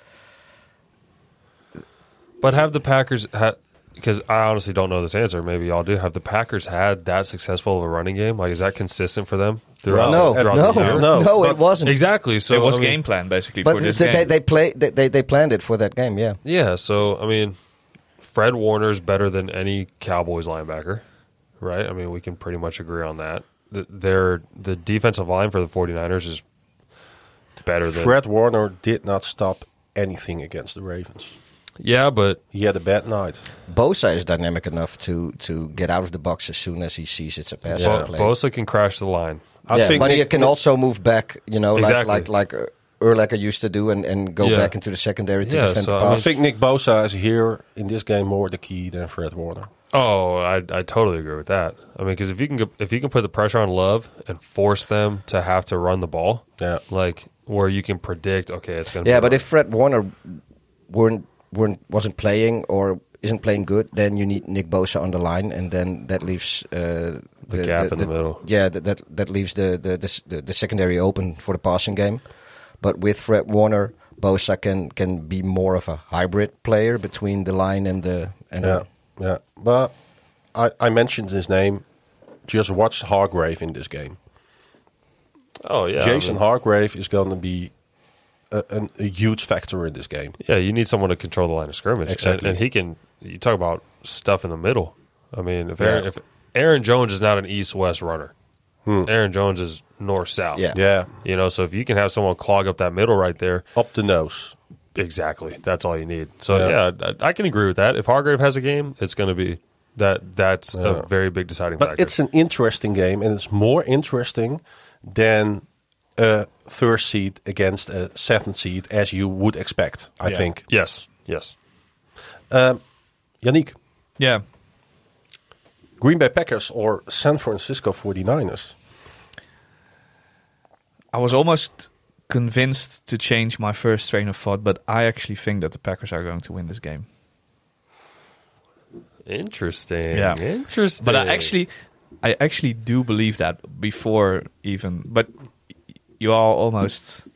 D: But have the Packers ha, because I honestly don't know this answer. Maybe y'all do. Have the Packers had that successful of a running game? Like, is that consistent for them
B: Oh,
D: throughout?
A: No,
D: throughout
C: no,
D: the year?
A: No,
C: no,
A: but-
C: it wasn't.
D: Exactly. So
B: it was
D: I mean,
B: game plan basically
C: But
B: for this
C: they,
B: game.
C: they, they play they, they they planned it for that game. Yeah,
D: Yeah. So I mean, Fred Warner's better than any Cowboys linebacker, right? I mean, we can pretty much agree on that. Th- Their the defensive line for the 49ers is better than
A: Fred Warner did not stop anything against the Ravens.
D: Yeah, but
A: He had a bad night.
C: Bosa is dynamic enough to to get out of the box as soon as he sees it's a pass
D: Bo-
C: play.
D: Bosa can crash the line.
A: I
C: yeah,
A: think
C: but he
A: Nick-
C: can also move back. You know,
D: Exactly.
C: like like like uh, Urlacher used to do, and and go
D: Yeah.
C: back into the secondary to
D: Yeah,
C: defend
D: so,
C: the
D: I mean,
A: I
C: pass.
A: think Nick Bosa is here in this game more the key than Fred Warner.
D: Oh, I, I totally agree with that. I mean, because if you can go- if you can put the pressure on Love and force them to have to run the ball,
A: Yeah.
D: like where you can predict, okay, it's gonna.
C: yeah,
D: be
C: but
D: a-
C: if Fred Warner weren't weren't wasn't playing or isn't playing good, then you need Nick Bosa on the line, and then that leaves uh, the,
D: gap in the middle.
C: Yeah, that that, that leaves the the, the s- the the secondary open for the passing game. But with Fred Warner, Bosa can can be more of a hybrid player between the line and the and
A: Yeah,
C: the,
A: yeah. But I, I mentioned his name. Just watch Hargrave in this game.
D: oh yeah, I
A: Jason
D: mean,
A: Hargrave is going to be a, an, a huge factor in this game.
D: yeah, you need someone to control the line of scrimmage, And-
A: Exactly.
D: and, he can. You talk about stuff in the middle. I mean, if Aaron,
A: Yeah.
D: if Aaron Jones is not an east west runner, Aaron Jones is north south.
C: Yeah.
A: Yeah,
D: you know, so if you can have someone clog up that middle right there,
A: up the nose.
D: Exactly. That's all you need. So
A: Yeah.
D: yeah, I, I can agree with that. If Hargrave has a game, it's going to be that. That's
A: Yeah.
D: a very big deciding
A: But
D: factor.
A: it's an interesting game, and it's more interesting than a third seed against a seventh seed, as you would expect. I
B: Yeah.
A: think.
D: yes, yes.
A: Yannick,
B: yeah,
A: Green Bay Packers or San Francisco 49ers?
B: I was almost convinced to change my first train of thought, but I actually think that the Packers are going to win this game.
D: Interesting.
B: Yeah.
D: Interesting.
B: But I actually, I actually do believe that before even. But you all almost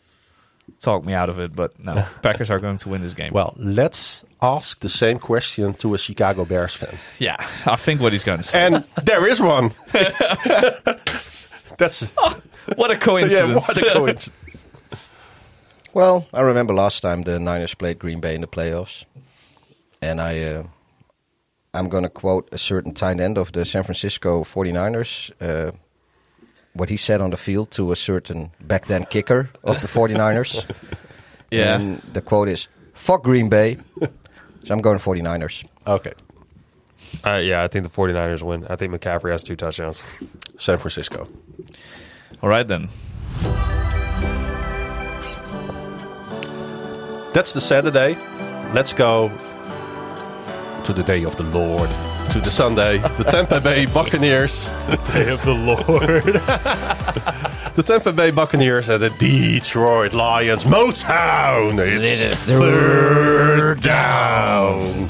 B: talked me out of it. But no, Packers are going to win this game.
A: Well, let's ask the same question to a Chicago Bears fan.
B: yeah, I think what he's going to say.
A: And there is one. That's
B: what a
A: yeah,
B: coincidence!
A: what a coincidence.
C: Well, I remember last time the Niners played Green Bay in the playoffs, and I, uh, I'm going to quote a certain tight end of the San Francisco 49ers, uh, what he said on the field to a certain back then kicker of the 49ers.
B: yeah,
C: And the quote is, fuck Green Bay. So I'm going 49ers.
A: Okay,
D: Uh, yeah, I think the 49ers win. I think McCaffrey has two touchdowns.
A: San Francisco.
B: all right then.
A: That's the Saturday. Let's go to the day of the Lord, to the Sunday, the Tampa Bay Buccaneers.
D: Day of the Lord.
A: The Tampa Bay Buccaneers and the Detroit Lions. Motown! It's third down.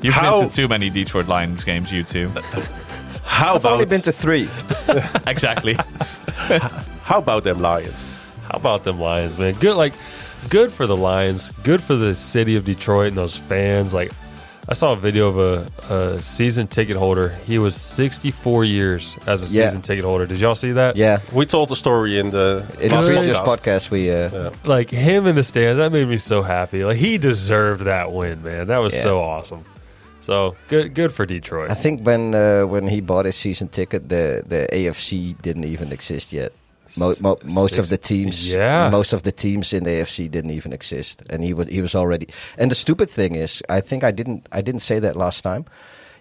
B: You've
A: How-
B: been to too many Detroit Lions games, you two.
A: How
C: Only
A: about,
C: been to three.
B: exactly.
A: how about them Lions?
D: How about them Lions, man? Good, like, good for the Lions. Good for the city of Detroit and those fans. Like, I saw a video of a, a season ticket holder. He was 64 years as a
C: Yeah.
D: season ticket holder. Did y'all see that?
C: Yeah.
A: We told the story in the
C: In the
A: last
C: previous podcast, we... Uh,
D: like him in the stands that made me so happy like he deserved that win man that was
C: Yeah.
D: so awesome so good good for detroit
C: I think when uh, when he bought his season ticket, the the AFC didn't even exist yet. Mo- mo- most
D: six-
C: of the teams,
D: yeah.
C: most of the teams in the AFC didn't even exist, and he was he was already. And the stupid thing is, I think I didn't I didn't say that last time.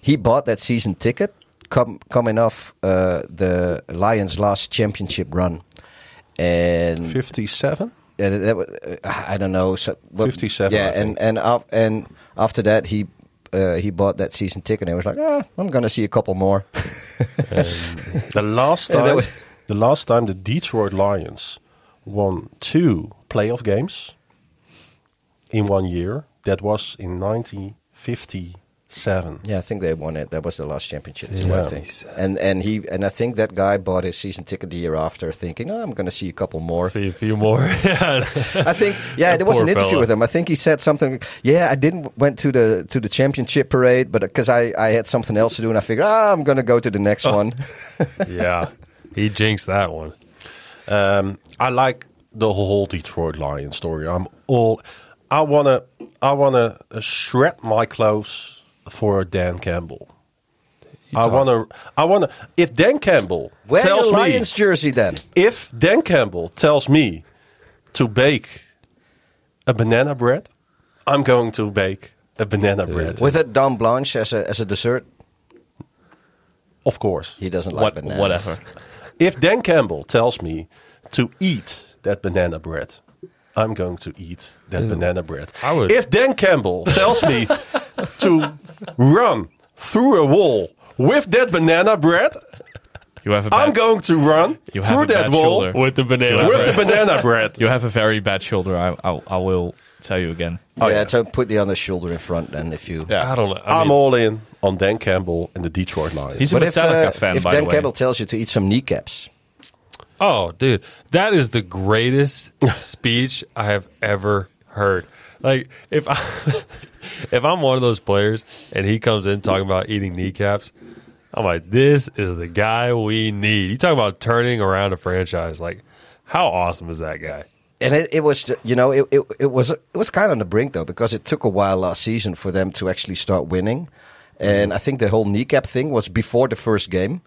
C: He bought that season ticket com- coming off uh, the Lions' last championship run, and
A: 57?
C: yeah, that, that, wa- uh, I don't know. So, but-
A: 57,
C: Yeah,
A: I
C: and and af- and after that he. Uh, he bought that season ticket and he was like, ah, I'm going to see a couple more.
A: The last
C: Yeah, that
A: time,
C: was-
A: the last time the Detroit Lions won two playoff games in one year, that was in 1957. Seven.
C: Yeah, I think they won it. That was the last championship.
A: Yeah.
C: too, I
A: Wow.
C: think. And and he and I think that guy bought his season ticket the year after, thinking, "Oh, I'm going to see a couple more."
D: See a few more. yeah.
C: I think, yeah,
D: That
C: there was
D: poor
C: an interview
D: fella.
C: with him. I think he said something. Yeah, I didn't went to the to the championship parade, but because I I had something else to do, and I figured, ah, I'm going to go to the next
D: Oh.
C: one.
D: yeah. He jinxed that one.
A: Um, I like the whole Detroit Lions story. I'm all. I wanna. I wanna shred my clothes for Dan Campbell. I wanna. I wanna. If Dan Campbell
C: Wear your
A: tells me,
C: Lions jersey then.
A: if Dan Campbell tells me to bake a banana bread, I'm going to bake a banana bread.
C: With a Dame Blanche as a as a dessert,
A: of course.
C: he doesn't like
B: What,
C: bananas.
B: whatever.
A: If Dan Campbell tells me to eat that banana bread, I'm going to eat that banana bread.
D: I would-
A: If Dan Campbell tells me to run through a wall with that banana bread,
B: You have a bad,
A: I'm going to run
B: You have
A: through
B: a
A: that
B: bad
A: wall
B: shoulder.
D: With the banana.
A: with the
D: bread.
A: banana bread.
B: You have a very bad shoulder. I, I, I will tell you again.
A: Oh,
C: yeah,
A: yeah.
C: so put the other shoulder in front then if you.
B: Yeah.
D: I don't know. I
A: I'm
D: mean,
A: all in on Dan Campbell and the Detroit Lions.
B: He's a
C: But if,
B: Metallica
C: uh,
B: fan,
C: if
B: by
C: Dan
B: the way.
C: Campbell tells you to eat some kneecaps,
D: Oh, dude, that is the greatest speech I have ever heard. Like if I if I'm one of those players and he comes in talking about eating kneecaps, I'm like, this is the guy we need. You talk about turning around a franchise. Like, how awesome is that guy?
C: And it, it was, ju- you know, it, it, it was it was kind of on the brink though because it took a while last season for them to actually start winning, and I think the whole kneecap thing was before the first game,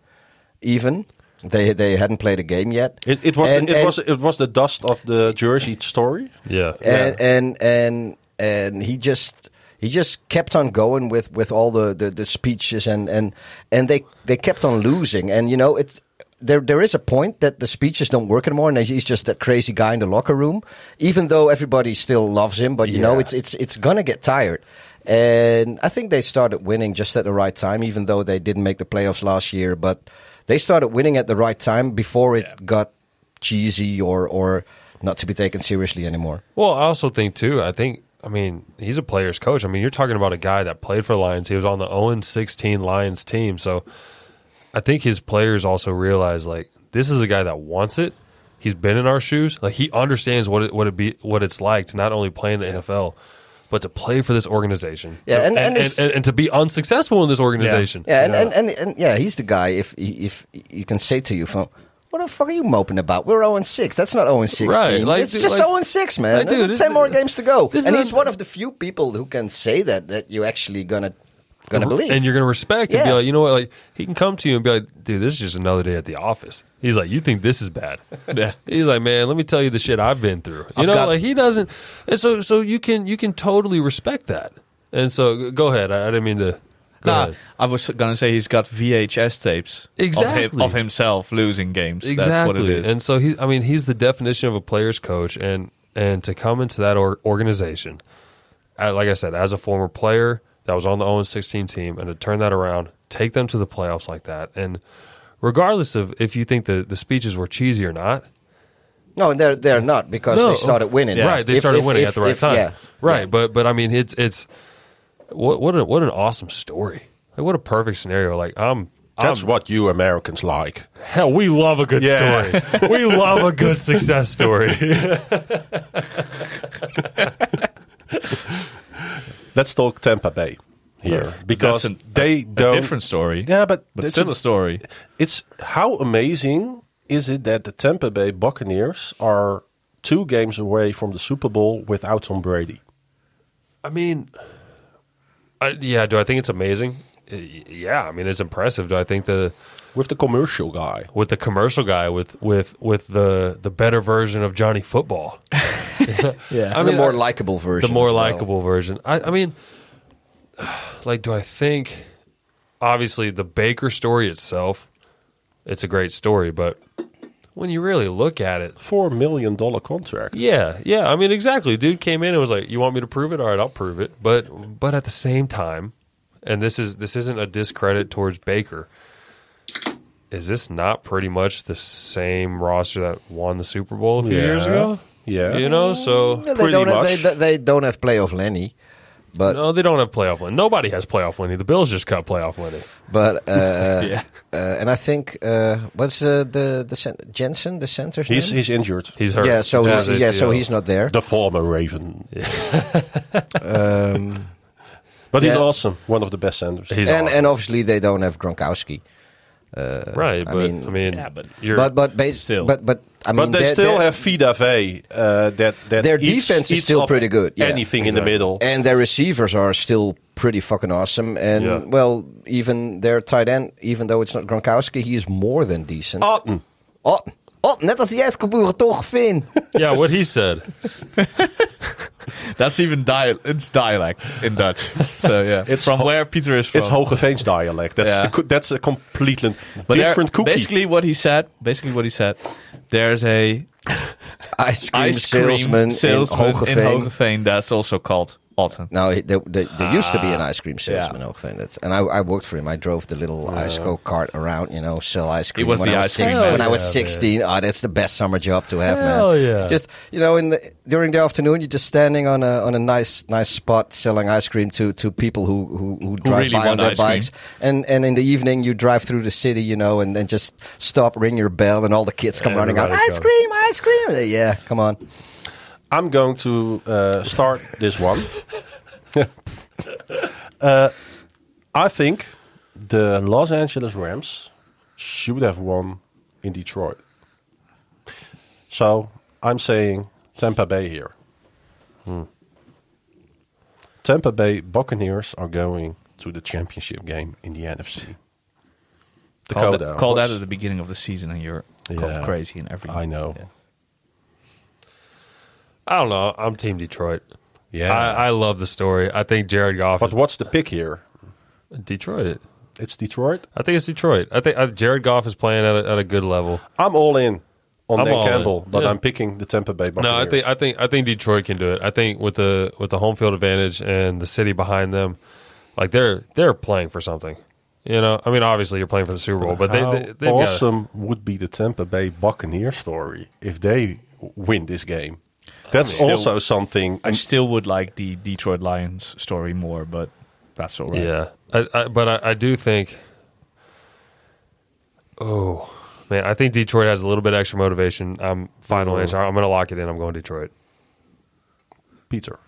C: even they they hadn't played a game yet.
A: It, it was
C: And-
A: it
C: and-
A: was it was the dust of the jersey story.
D: Yeah.
C: and and and and he just he just kept on going with with all the the, the speeches and and and they they kept on losing and you know it's there, there is a point that the speeches don't work anymore, and he's just that crazy guy in the locker room. Even though everybody still loves him, but you know
D: Yeah.
C: it's it's it's gonna get tired. And I think they started winning just at the right time, even though they didn't make the playoffs last year. But they started winning at the right time before it got cheesy or or not to be taken seriously anymore.
D: Well, I also think too. I think I mean he's a player's coach. I mean you're talking about a guy that played for the Lions. He was on the 0 16 Lions team, so I think his players also realize like this is a guy that wants it. He's been in our shoes. Like he understands what it what it be what it's like to not only play in the NFL, but to play for this organization.
C: Yeah,
D: To-
C: and- and
D: and,
C: it's-
D: and- and to be unsuccessful in this organization.
C: Yeah, and, And, and, and yeah, he's the guy. If if you can say to you, "Phone, what the fuck are you moping about? We're zero and six. That's not zero and six.
D: Right, like,
C: it's
D: dude,
C: just
D: like-
C: zero and six, man.
D: like, dude,
C: There's
D: this-
C: Ten more games to go.
D: this is
C: And
D: not-
C: he's one of the few people who can say that that you actually gonna gonna believe.
D: and you're gonna respect and be
C: Yeah.
D: like, you know what? Like he can come to you and be like, dude, this is just another day at the office. He's like, you think this is bad?
B: Yeah.
D: He's like, man, let me tell you the shit I've been through. You
B: I've
D: know,
B: got-
D: like he doesn't. And so, so you can you can totally respect that. And so, g- go ahead. I, I didn't mean to. Go
B: Nah,
D: ahead.
B: I was gonna say he's got VHS tapes of, him,
D: Exactly.
B: of himself losing games. That's what it is.
D: And so he's, I mean, he's the definition of a player's coach, and and to come into that or, organization, I, like I said, as a former player that was on the 0 16 team, and to turn that around, take them to the playoffs like that, and regardless of if you think the the speeches were cheesy or not,
C: no, they're they're not because
D: No,
C: they started winning.
D: Right, they
C: If-
D: started
C: if-
D: winning
C: if-
D: at the right
C: if-
D: time.
C: yeah.
D: Right, but but I mean, it's it's what what a, what an awesome story. Like what a perfect scenario. Like I'm.
A: That's
D: I'm,
A: what you Americans like.
D: hell, we love a good
A: Yeah.
D: story. We love a good success story.
A: Let's talk Tampa Bay here because
B: That's an-
A: they don't.
B: different story.
A: Yeah, but,
B: but
A: it's
B: still
A: a-
B: a story.
A: It's how amazing is it that the Tampa Bay Buccaneers are two games away from the Super Bowl without Tom Brady?
D: I mean, I, yeah. Do I think it's amazing? Uh, y- Yeah, I mean it's impressive. Do I think the
A: With the commercial guy.
D: with the commercial guy with with with the the better version of Johnny Football,
B: Yeah.
D: I
C: the
D: mean,
C: more
D: I-
C: likable version.
D: the more
C: as well.
D: likable version. I, I mean, like, do I think? Obviously, the Baker story itself, it's a great story, but when you really look at it,
A: Four million dollar contract.
D: Yeah, yeah. I mean, exactly. Dude came in and was like, "You want me to prove it? All right, I'll prove it." But but at the same time, and this is this isn't a discredit towards Baker. Is this not pretty much the same roster that won the Super Bowl a few years ago?
A: Yeah.
D: You know, so
C: Yeah, they
A: Pretty
C: don't.
A: much.
C: Have, they, they don't have playoff Lenny. But
D: No, they don't have playoff Lenny. Nobody has playoff Lenny. The Bills just cut playoff Lenny.
C: but uh,
B: Yeah.
C: uh, and I think uh, what's the the the cent- Jensen the center's
A: He's,
C: name?
A: he's injured.
D: He's hurt. uh,
C: yeah, so
D: Tears
C: he's, yeah, so
D: ACL.
C: he's not there.
A: The former Raven.
C: Um,
A: But he's
C: Yeah.
A: awesome. One of the best centers.
D: He's
C: and
D: awesome.
C: and obviously they don't have Gronkowski.
D: right,
C: I
D: but I mean,
C: mean-
B: Yeah, but-
D: you're,
C: but but bas-
B: Still.
C: but but I mean
A: but they
C: they're-
A: still
C: they're-
A: have Vida Vey. Uh, that, that
C: Their
A: eats-
C: defense is
A: eats
C: still
A: up
C: pretty good, yeah.
A: Anything in the
D: Exactly.
A: middle.
C: and their receivers are still pretty fucking awesome. And
D: Yeah.
C: well, even their tight end, even though it's not Gronkowski, he is more than decent.
A: Otten.
C: Oh, oh, net als die uitgeboren toch, Finn.
D: yeah, what he said.
B: That's even dial. It's dialect in Dutch. So yeah,
A: It's
B: it's from
A: ho-
B: where Peter is from.
A: It's
D: Oh.
A: Hogeveens dialect. That's
B: Yeah.
A: the co- that's a completely
B: But there-
A: different cookie.
B: Basically, what he said. Basically, what he said. There's a
C: Ice cream
B: ice cream
C: salesman,
B: salesman,
C: in
B: in
C: Hogeveen.
B: Hogeveen that's also called Otten.
C: No, he- there, there, there used to be an ice cream salesman
B: Ah, yeah.
C: in Hogeveen. That's, and I, I worked for him. I drove the little ice co cart around, you know, sell ice cream.
B: was
C: when
B: the
C: I was
B: ice cream
C: six-
B: man.
C: When I was
D: Yeah,
C: 16, oh, that's the best summer job to have,
D: Hell
C: man.
D: yeah.
C: Just, you know, in the, during the afternoon, you're just standing on a, on a nice nice spot selling ice cream to, to people who, who, who drive
B: really
C: by on
B: want
C: their
B: ice cream.
C: bikes. And, and in the evening, you drive through the city, you know, and then just stop, ring your bell, and all the kids come running out.
D: Everybody
C: Ice
D: comes.
C: cream, ice cream. Yeah, come on.
A: I'm going to uh, start this one. Uh, I think the Los Angeles Rams should have won in Detroit. So I'm saying Tampa Bay here. Hmm. Tampa Bay Buccaneers are going to the championship game in the NFC.
B: Called,
A: Dakota,
B: called that
A: what's-
B: at the beginning of the season, and you're
A: Yeah.
B: called crazy and everything.
A: I know.
B: Yeah.
D: I don't know. I'm Team Detroit.
A: Yeah.
D: I, I love the story. I think Jared Goff.
A: But
D: Is
A: what's the pick here?
D: Detroit.
A: It's Detroit.
D: I think it's Detroit. I think uh, Jared Goff is playing at a, at a good level.
A: I'm all in on
D: I'm
A: Dan
D: all in.
A: Campbell, but
D: Yeah.
A: I'm picking the Tampa Bay
D: No,
A: Buccaneers.
D: I think I think I think Detroit can do it. I think with the with the home field advantage and the city behind them, like they're they're playing for something. You know, I mean, obviously you're playing for the Super Bowl, but they,
A: How
D: they they've got-
A: awesome would be the Tampa Bay Buccaneer story if they w- win this game. That's
B: mean-
A: also something.
B: I still would like the Detroit Lions story more, but that's all right.
D: Yeah, I, I, but I, I do think. Oh man, I think Detroit has a little bit extra motivation. I'm final
C: Mm-hmm.
D: answer. I'm going to lock it in. I'm going Detroit.
A: Peter,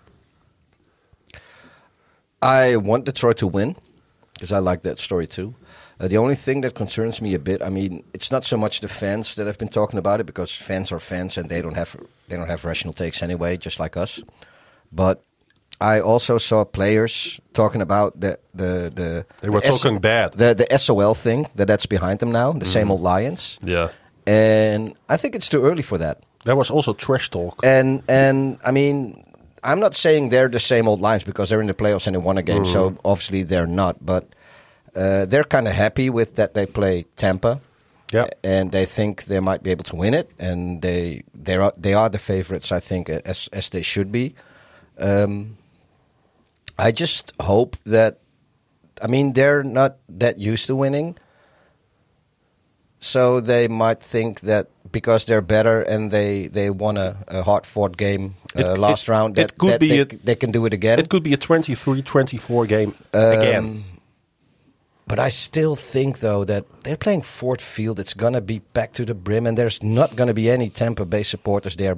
C: I want Detroit to win because I like that story too. Uh, the only thing that concerns me a bit, I mean, it's not so much the fans that have been talking about it because fans are fans and they don't have they don't have rational takes anyway, just like us. But I also saw players talking about the the the
A: They were
C: the S-
A: talking bad. Mm-hmm.
C: the the SOL thing that that's behind them now, the same old Lions,
D: Yeah,
C: and I think it's too early for that.
A: there was also trash talk.
C: And and I mean, I'm not saying they're the same old lines because they're in the playoffs and they won a game, so obviously they're not. But uh, they're kind of happy with that they play Tampa,
A: Yeah.
C: and they think they might be able to win it, and they they are they are the favorites, I think, as as they should be. Um, I just hope that I mean they're not that used to winning. So they might think that because they're better and they, they won a, a hard fought game uh,
A: It- it-
C: last round, that,
A: it could
C: that
A: be
C: they,
A: a-
C: they can do it again.
A: It could be a 23-24 game
C: Um,
A: again.
C: But I still think though that they're playing Ford Field. It's gonna be back to the brim, and there's not gonna be any Tampa Bay supporters there.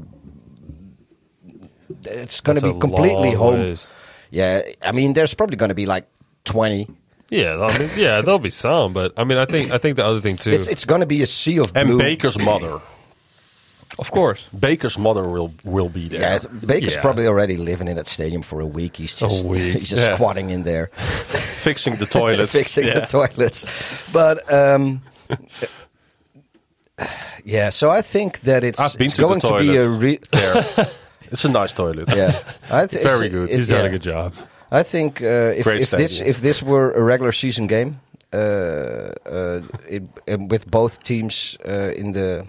C: It's gonna
D: That's
C: be
D: a
C: completely
D: long
C: home.
D: ways.
C: Yeah, I mean, there's probably gonna be like twenty.
D: yeah, I mean, yeah. There'll be some, but I mean, I think I think the other thing too.
C: It's it's gonna be a sea of
A: And
C: blue.
A: Baker's mother,
B: Of course.
A: Baker's mother will will be there.
C: Yeah, Baker's
D: Yeah.
C: probably already living in that stadium for a week. He's just
D: week,
C: he's just
A: yeah.
C: squatting in there.
A: Fixing the toilets.
C: fixing the toilets. But um, yeah, so I think that it's,
A: I've been
C: it's
A: to the
C: going to be
A: toilet.
C: a re-
A: there. It's a nice toilet.
C: yeah. I th-
A: Very good.
D: he's done
C: yeah.
D: a good job.
C: I think uh, if,
A: Great
C: if this
A: stadium.
C: if this were a regular season game, uh, uh, it, and with both teams uh, in the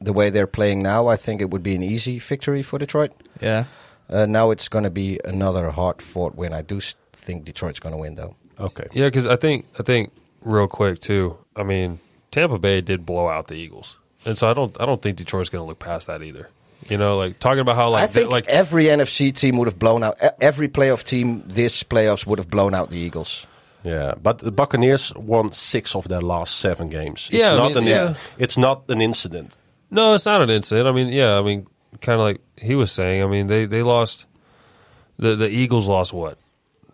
C: the way they're playing now, I think it would be an easy victory for Detroit.
B: Yeah.
C: Uh, now it's going to be another hard fought win. I do s- think Detroit's going to win though.
A: Okay.
D: Yeah, because I think I think real quick too. I mean, Tampa Bay did blow out the Eagles, and so I don't I don't think Detroit's going to look past that either. You know, like talking about how like
C: I think e-
D: that, like
C: every NFC team would have blown out. e- Every playoff team this playoffs would have blown out the Eagles.
A: Yeah, but the Buccaneers won six of their last seven games. It's
D: Yeah, I
A: not
D: mean,
A: an
D: yeah.
A: it's not an incident.
D: No, it's not an incident. I mean, yeah, I mean, kind of like he was saying. I mean, they they lost. The the Eagles lost what?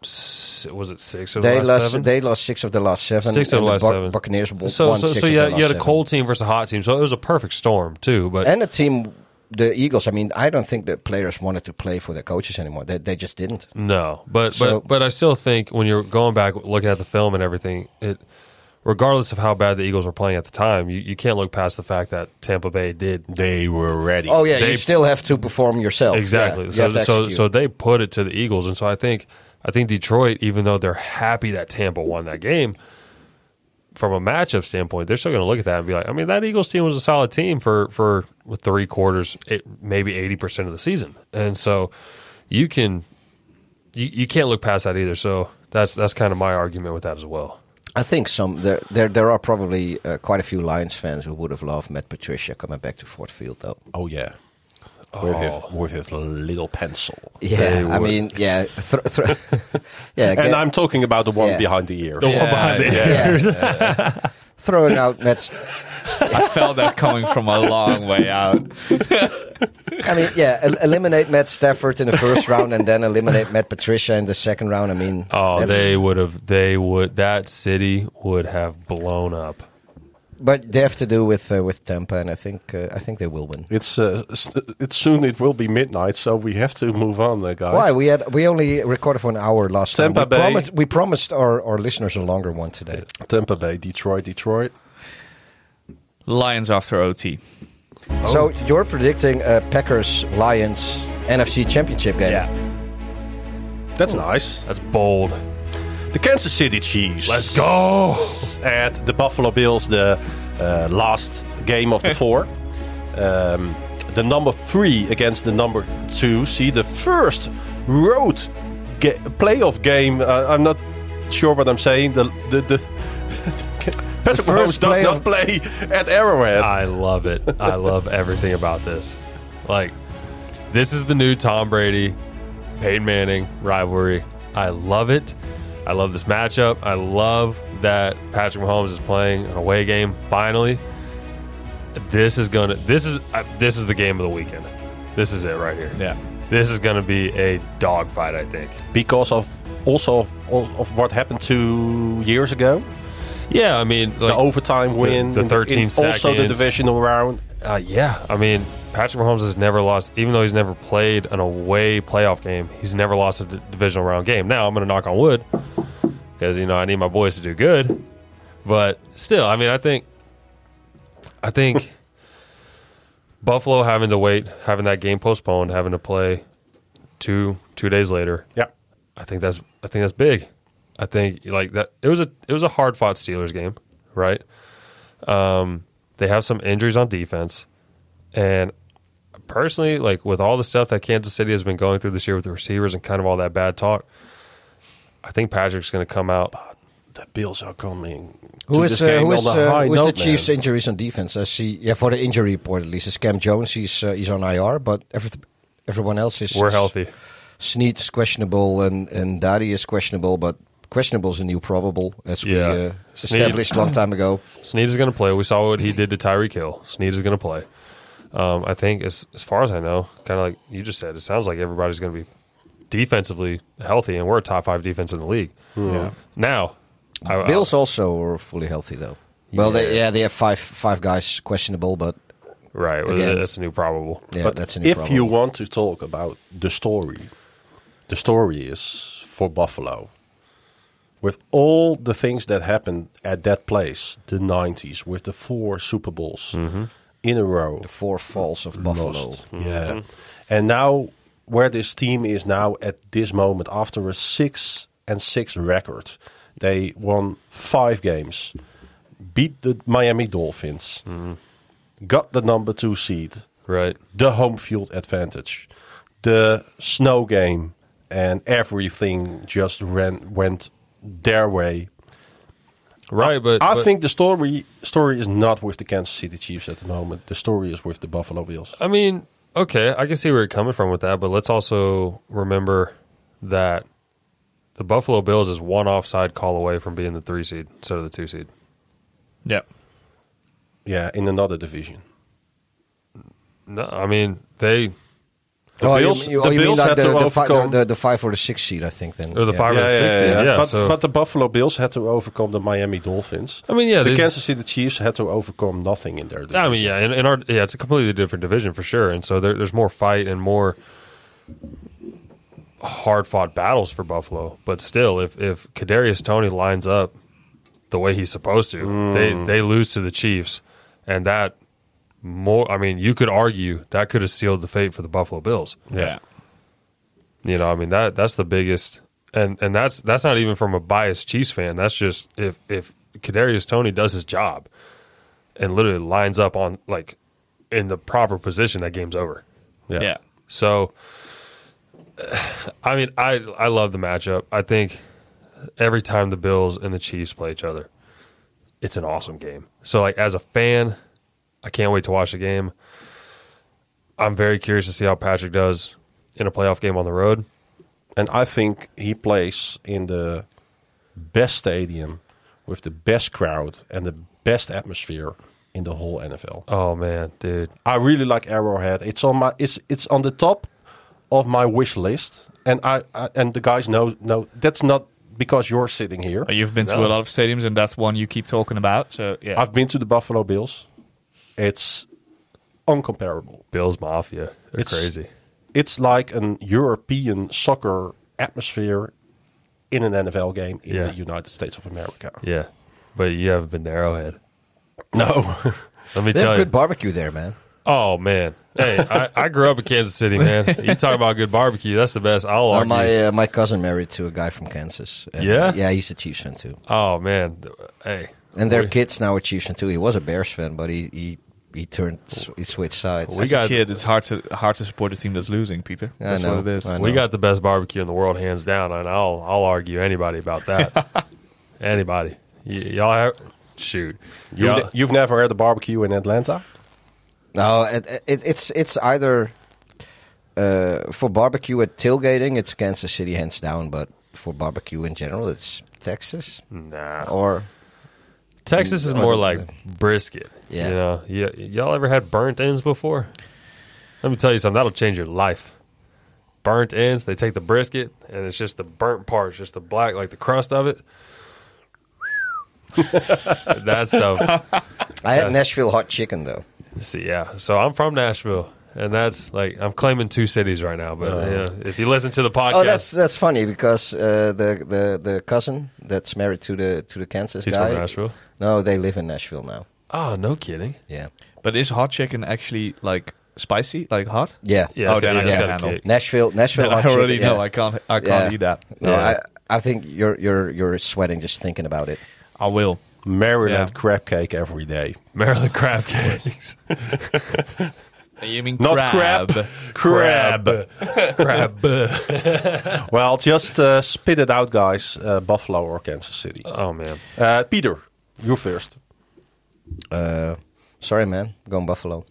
D: S- was it six of the
C: They
D: last
C: lost.
D: seven?
C: They lost six of the last seven.
D: six of
C: and
D: the last
C: Buc-
D: seven.
C: Buccaneers w-
D: so
C: won
D: so
C: six
D: so
C: of
D: you
C: their
D: had,
C: last
D: you had a
C: seven.
D: cold team versus a hot team. So it was a perfect storm too. But
C: and a team. The Eagles. I mean, I don't think the players wanted to play for their coaches anymore. They, they just didn't.
D: No, but
C: So-
D: but but I still think when you're going back looking at the film and everything, it regardless of how bad the Eagles were playing at the time, you, you can't look past the fact that Tampa Bay did
A: They were ready.
C: Oh yeah,
D: They-
C: you still have to perform yourself. Oh,
D: exactly.
C: Yeah, you
D: so
C: have to
D: so
C: execute.
D: so they put it to the Eagles, and so I think I think Detroit, even though they're happy that Tampa won that game, from a matchup standpoint, they're still going to look at that and be like, I mean, that Eagles team was a solid team for for three quarters, it, maybe eighty percent of the season, and so you can you, you can't look past that either. So that's that's kind of my argument with that as well.
C: I think some there there, there are probably uh, quite a few Lions fans who would have loved Matt Patricia coming back to Ford Field though.
A: Oh yeah. With, his, with his little pencil.
C: Yeah, I mean, yeah, thr thr yeah,
A: And
C: get-
A: I'm talking about the one
C: Yeah.
A: behind the ear.
D: one behind the
A: yeah.
C: yeah, yeah. throwing out Matt's.
B: I felt that coming from a long way out.
C: I mean, yeah, el- eliminate Matt Stafford in the first round and then eliminate Matt Patricia in the second round. I mean,
D: Oh,
C: that's-
D: they would have. They would. That city would have blown up.
C: but they have to do with uh, with Tampa, and I think uh, I think they will win.
A: It's uh, s- it's soon. It will be midnight, so we have to move on, uh, guys.
C: Why we had we only recorded for an hour last
A: Tampa
C: time. We
A: Bay.
C: promised, we promised our, our listeners a longer one today.
A: Tampa Bay, Detroit, Detroit.
B: Lions after OT.
C: So you're predicting a Packers Lions NFC Championship game.
A: That's nice.
D: That's bold.
A: The Kansas City Chiefs.
D: Let's go.
A: at the Buffalo Bills, the uh, last game of the four. Um, the number three against the number two. See, the first road ga- playoff game. Uh, I'm not sure what I'm saying. The the, the Patrick Mahomes
C: first
A: does not play
C: playoff-
A: Ah. at Arrowhead.
D: I love it. I love everything about this. Like, this is the new Tom Brady, Peyton Manning rivalry. I love it. I love this matchup. I love that Patrick Mahomes is playing an away game finally. This is gonna. This is uh, this is the game of the weekend. This is it right here.
B: Yeah.
D: This is gonna be a dogfight. I think.
A: because of also of, of, of what happened two years ago,
D: Yeah. I mean,
A: the overtime win,
D: the
A: in
D: 13
A: in also the
D: seconds.
A: divisional round.
D: Uh, yeah, I mean, Patrick Mahomes has never lost, even though he's never played an away playoff game. He's never lost a d- divisional round game. Now I'm going to knock on wood because you know I need my boys to do good. But still, I mean, I think, I think Buffalo having to wait, having that game postponed, having to play two two days later.
A: Yeah,
D: I think that's I think that's big. I think like that it was a it was a hard fought Steelers game, right? Um, they have some injuries on defense, and personally, like with all the stuff that Kansas City has been going through this year with the receivers and kind of all that bad talk, I think Patrick's going to come out.
A: the Bills are coming.
C: Who
A: to
C: is
A: this
C: uh,
A: game
C: who
A: on
C: is
A: a
C: uh,
A: high
C: who is the
A: note, man.
C: Chiefs' injuries on defense? I see. Yeah, for the injury report at least, it's Cam Jones. He's uh, he's on IR, but every, everyone else is
D: We're healthy.
C: Snead is questionable, and and Daddy is questionable, but questionable is a new probable, as
D: Yeah.
C: we uh,
D: Snead-
C: established a long time ago.
D: Snead is going to play. We saw what he did to Tyreek Hill. Snead is going to play. Um, I think as as far as I know, kind of like you just said, it sounds like everybody's going to be defensively healthy, and we're a top five defense in the league.
A: Hmm.
B: Yeah.
D: Now, I,
C: Bills also are fully healthy though. Well, they, yeah, they have five five guys questionable, but
D: I- right? well,
C: again.
D: That's a new probable.
C: yeah,
A: but
C: that's a new
A: if
C: probable.
A: you want to talk about the story, the story is for Buffalo. With all the things that happened at that place, the '90s, with the four Super Bowls
C: Mm-hmm.
A: in a row,
C: four falls of Buffalo.
A: lost. Yeah. And now where this team is now at this moment after a 6 and 6 record. They won 5 games. Beat the Miami Dolphins. Got the number 2 seed.
D: Right.
A: The home field advantage. The snow game and everything just ran went their way.
D: Right, but
A: I
D: but-
A: think the story story is not with the Kansas City Chiefs at the moment. The story is with the Buffalo Bills.
D: I mean, okay, I can see where you're coming from with that, but let's also remember that the Buffalo Bills is one offside call away from being the three seed instead of the two seed.
B: Yeah.
A: Yeah, in another division.
D: No, I mean they
A: The
C: oh,
A: Bills-
C: you, you,
A: the
C: oh, you
A: Bills
C: mean
A: had
C: like the,
A: to
C: the, fi-
A: overcome-
C: the, the, the five or the six seed, I think. Then
D: Or the
C: Yeah.
D: five or the six seed. Yeah,
A: but,
D: so
A: but the Buffalo Bills had to overcome the Miami Dolphins.
D: I mean, yeah,
A: the
D: they-
A: Kansas City Chiefs had to overcome nothing in their division.
D: I mean, yeah, in, in our yeah, it's a completely different division for sure, and so there, there's more fight and more hard fought battles for Buffalo. But still, if if Kadarius Tony lines up the way he's supposed to, they they lose to the Chiefs, and that more. I mean, you could argue that could have sealed the fate for the Buffalo Bills.
B: Yeah.
D: You know, I mean that that's the biggest, and and that's that's not even from a biased Chiefs fan. That's just if if Kadarius Tony does his job, and literally lines up on like in the proper position, that game's over.
B: Yeah.
D: So, I mean, I I love the matchup. I think every time the Bills and the Chiefs play each other, it's an awesome game. So, like as a fan, I can't wait to watch the game. I'm very curious to see how Patrick does in a playoff game on the road.
A: And I think he plays in the best stadium with the best crowd and the best atmosphere in the whole NFL.
D: Oh man, dude.
A: I really like Arrowhead. It's on my it's it's on the top of my wish list. And I, I and the guys know no that's not because you're sitting here.
B: You've been to a
D: No.
B: lot of stadiums, and that's one you keep talking about. So yeah,
A: I've been to the Buffalo Bills. It's uncomparable.
D: Bills Mafia. They're
A: It's-
D: crazy.
A: It's like an European soccer atmosphere in an NFL game in
D: Yeah.
A: the United States of America.
D: Yeah. But you haven't been to Arrowhead.
A: No.
D: Let me
C: They
D: tell
C: have
D: you.
C: good barbecue there, man.
D: oh man. Hey, I, I grew up in Kansas City, man. You talk about good barbecue. That's the best. I'll
C: Uh,
D: argue.
C: my uh, my cousin married to a guy from Kansas. And,
D: Yeah?
C: uh, yeah, he's a Chiefs fan too.
D: oh man. Hey.
C: And their
D: we,
C: kids now are Chiefs fan too. He was a Bears fan, but he he, he turned he switched sides.
D: We
B: as
D: got-
B: a kid, it's hard to hard to support a team that's losing, Peter.
C: I
B: That's
C: know,
B: what it is.
C: I know.
D: we got the best barbecue in the world, hands down, and I'll I'll argue anybody about that. anybody. Y- y'all have shoot.
A: You
D: Y'all-
A: ne- you've never had a barbecue in Atlanta?
C: No, it, it, it's it's either uh, for barbecue at tailgating, it's Kansas City hands down. But for barbecue in general, it's Texas
D: nah.
C: or
D: Texas is
C: Or-
D: more like brisket.
C: Yeah.
D: You know, y- y'all ever had burnt ends before? Let me tell you something. That'll change your life. Burnt ends. They take the brisket, and it's just the burnt part, it's just the black, like the crust of it. That's the
C: I had Nashville hot chicken though.
D: see. Yeah. So I'm from Nashville, and that's like I'm claiming two cities right now. But
B: Uh-huh.
D: yeah, if you listen to the podcast,
C: Oh, that's that's funny because uh, the the the cousin that's married to the to the Kansas
D: he's
C: guy.
D: from Nashville.
C: No, they live in Nashville now.
D: Oh, no kidding.
C: Yeah,
B: But is hot chicken actually like spicy, like hot?
C: yeah,
D: Yeah. it's
B: Oh, then
D: gonna-
B: I
D: yeah, it's
B: can
D: gotta
B: handle.
D: kick.
C: Nashville, Nashville.
B: Then I
C: hot chicken,
B: already know
C: yeah.
B: I can't. I
C: Yeah.
B: can't do that.
C: No,
D: Yeah.
C: I I think you're you're you're sweating just thinking about it.
B: I will.
A: Maryland
B: Yeah.
A: crab cake every day.
D: Maryland crab cakes.
B: You mean
A: Not crab. Crab.
D: crab.
A: Well, just uh, spit it out, guys. Uh, Buffalo or Kansas City.
D: Oh man.
A: Uh, Peter, you first.
C: Uh, sorry, man, going Buffalo.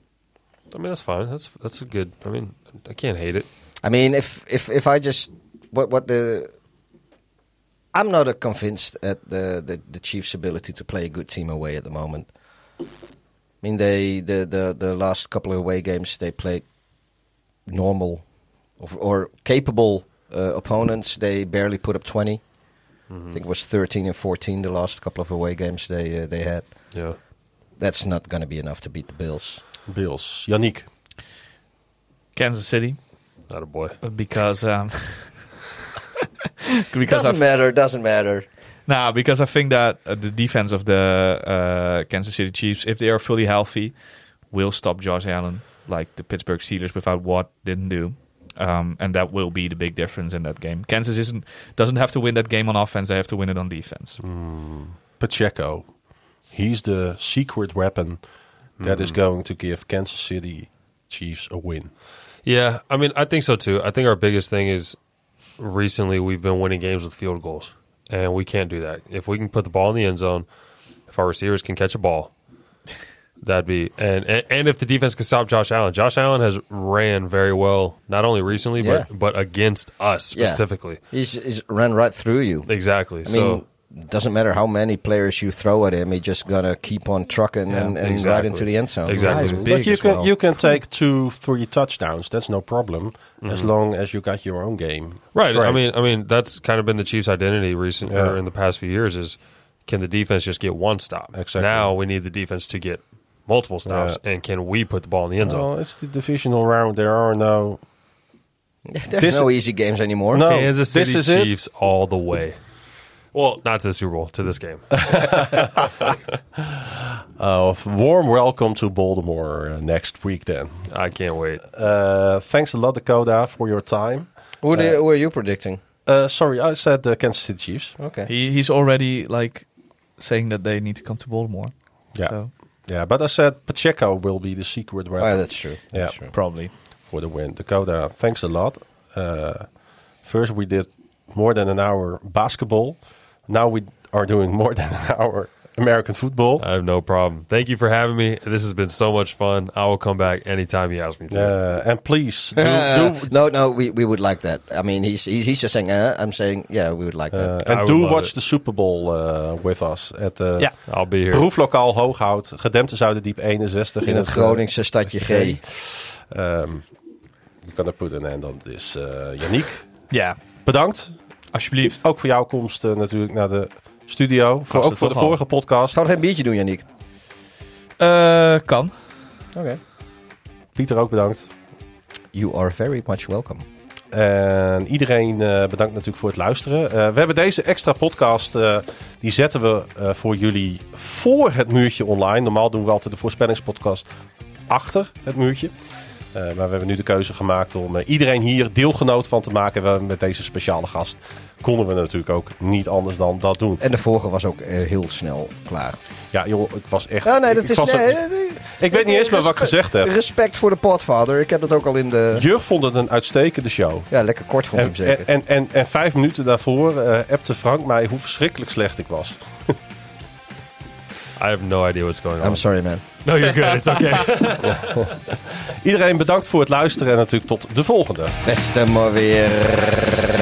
D: I mean, that's fine. That's that's a good. I mean, I can't hate it.
C: I mean, if if if I just what what the I'm not uh, convinced at the, the the Chiefs' ability to play a good team away at the moment. I mean, they the the, the last couple of away games they played normal or, or capable uh, opponents. They barely put up 20 I think it was thirteen and fourteen the last couple of away games they uh, they had.
D: Yeah.
C: That's not going to be enough to beat the Bills.
A: Bills. Yannick.
B: Kansas City
D: Not a boy.
B: because um, because
C: Doesn't
B: I
C: matter. Doesn't matter.
B: Nah, because I think that uh, the defense of the uh, Kansas City Chiefs, if they are fully healthy, will stop Josh Allen like the Pittsburgh Steelers without what didn't do, um, and that will be the big difference in that game. Kansas isn't doesn't have to win that game on offense; they have to win it on defense.
A: Pacheco. He's the secret weapon that
D: Hmm.
A: is going to give Kansas City Chiefs a win.
D: Yeah. I mean, I think so too. I think our biggest thing is recently we've been winning games with field goals, and we can't do that. If we can put the ball in the end zone, if our receivers can catch a ball, That'd be and, and and if the defense can stop Josh Allen, Josh Allen has ran very well, not only recently
C: Yeah.
D: but but against us
C: Yeah.
D: specifically.
C: He's, he's ran right through you.
D: Exactly.
C: I
D: so
C: mean, doesn't matter how many players you throw at him, he just gonna keep on trucking and, and right
D: exactly.
C: into the end zone.
D: Exactly.
A: Nice.
D: Big
A: But you
D: as
A: can
D: well.
A: you can take two, three touchdowns. That's no problem as long as you got your own game.
D: Mm-hmm. Right.
A: straight.
D: I mean, I mean that's kind of been the Chiefs' identity recent
A: Yeah.
D: or in the past few years is can the defense just get one stop?
A: Exactly.
D: Now we need the defense to get multiple stops, and can we put the ball in the end zone?
A: well, it's the divisional round. There are no
C: There's
A: This-
C: no easy games anymore.
A: No.
D: Kansas
A: this
D: City
A: is it?
D: Chiefs all the way. Well, not to the Super Bowl, to this game.
A: uh, warm welcome to Baltimore uh, next week. Then
D: I can't wait.
A: uh, thanks a lot, Dakota, for your time.
C: Who, do- who are you predicting?
A: Uh, sorry, I said the Kansas City Chiefs.
C: Okay.
B: He, he's already like saying that they need to come to Baltimore.
A: Yeah,
B: So,
A: yeah, but I said Pacheco will be the secret weapon.
C: Oh, that's true. That's
A: Yeah.
C: true.
B: probably.
A: for the win. Dakota, thanks a lot. Uh, first, we did more than an hour basketball. Now we are doing more than an hour American football.
D: I have no problem. Thank you for having me. This has been so much fun. I will come back anytime you ask me to.
A: Uh, and please, do,
C: Uh,
A: do-
C: no, no, we, we would like that. I mean, he's he's, he's just saying, uh, I'm saying, yeah, we would like
A: uh,
C: that.
A: and
D: would
A: do
D: love
A: watch
D: it.
A: the Super Bowl uh, with us at the
B: Ja.
D: I'll be here.
A: proeflokaal Hooghout, gedempte Zuiderdiep 61
C: in het
A: eh,
C: Groningse stadje G.
A: ehm, we're gonna put an end on this. eh Yannick,
B: Ja,
A: bedankt.
B: alsjeblieft.
A: Ook voor jouw komst eh, natuurlijk naar de studio. Voor, ook
B: het
A: voor de
B: toch al.
A: vorige podcast.
C: Zou er geen biertje doen, Yannick?
B: Eh, kan.
C: Oké.
A: Pieter ook bedankt.
C: You are very much welcome.
A: En iedereen eh, bedankt natuurlijk voor het luisteren. Eh, we hebben deze extra podcast, eh, die zetten we eh, voor jullie voor het muurtje online. Normaal doen we altijd de voorspellingspodcast achter het muurtje. Eh, maar we hebben nu de keuze gemaakt om eh, iedereen hier deelgenoot van te maken. We, met deze speciale gast konden we natuurlijk ook niet anders dan dat doen.
C: En de vorige was ook eh, heel snel klaar.
A: Ja joh, ik was echt...
C: Oh nee,
A: ik-
C: dat
A: ik
C: is...
A: was
C: nee,
A: er-
C: eh, eh,
A: ik weet niet eens meer wat ik gezegd heb.
C: Respect voor de potvader. Ik heb dat ook al in de...
A: Jurg vond het een uitstekende show.
C: Ja, lekker kort vond ik
A: En,
C: hem zeker.
A: en, en, en vijf minuten daarvoor eh appte Frank mij hoe verschrikkelijk slecht ik was.
D: I have no idea what's going on.
C: I'm sorry, man.
D: No, you're good. It's okay.
A: Iedereen bedankt voor het luisteren en natuurlijk tot de volgende.
C: Beste maar weer.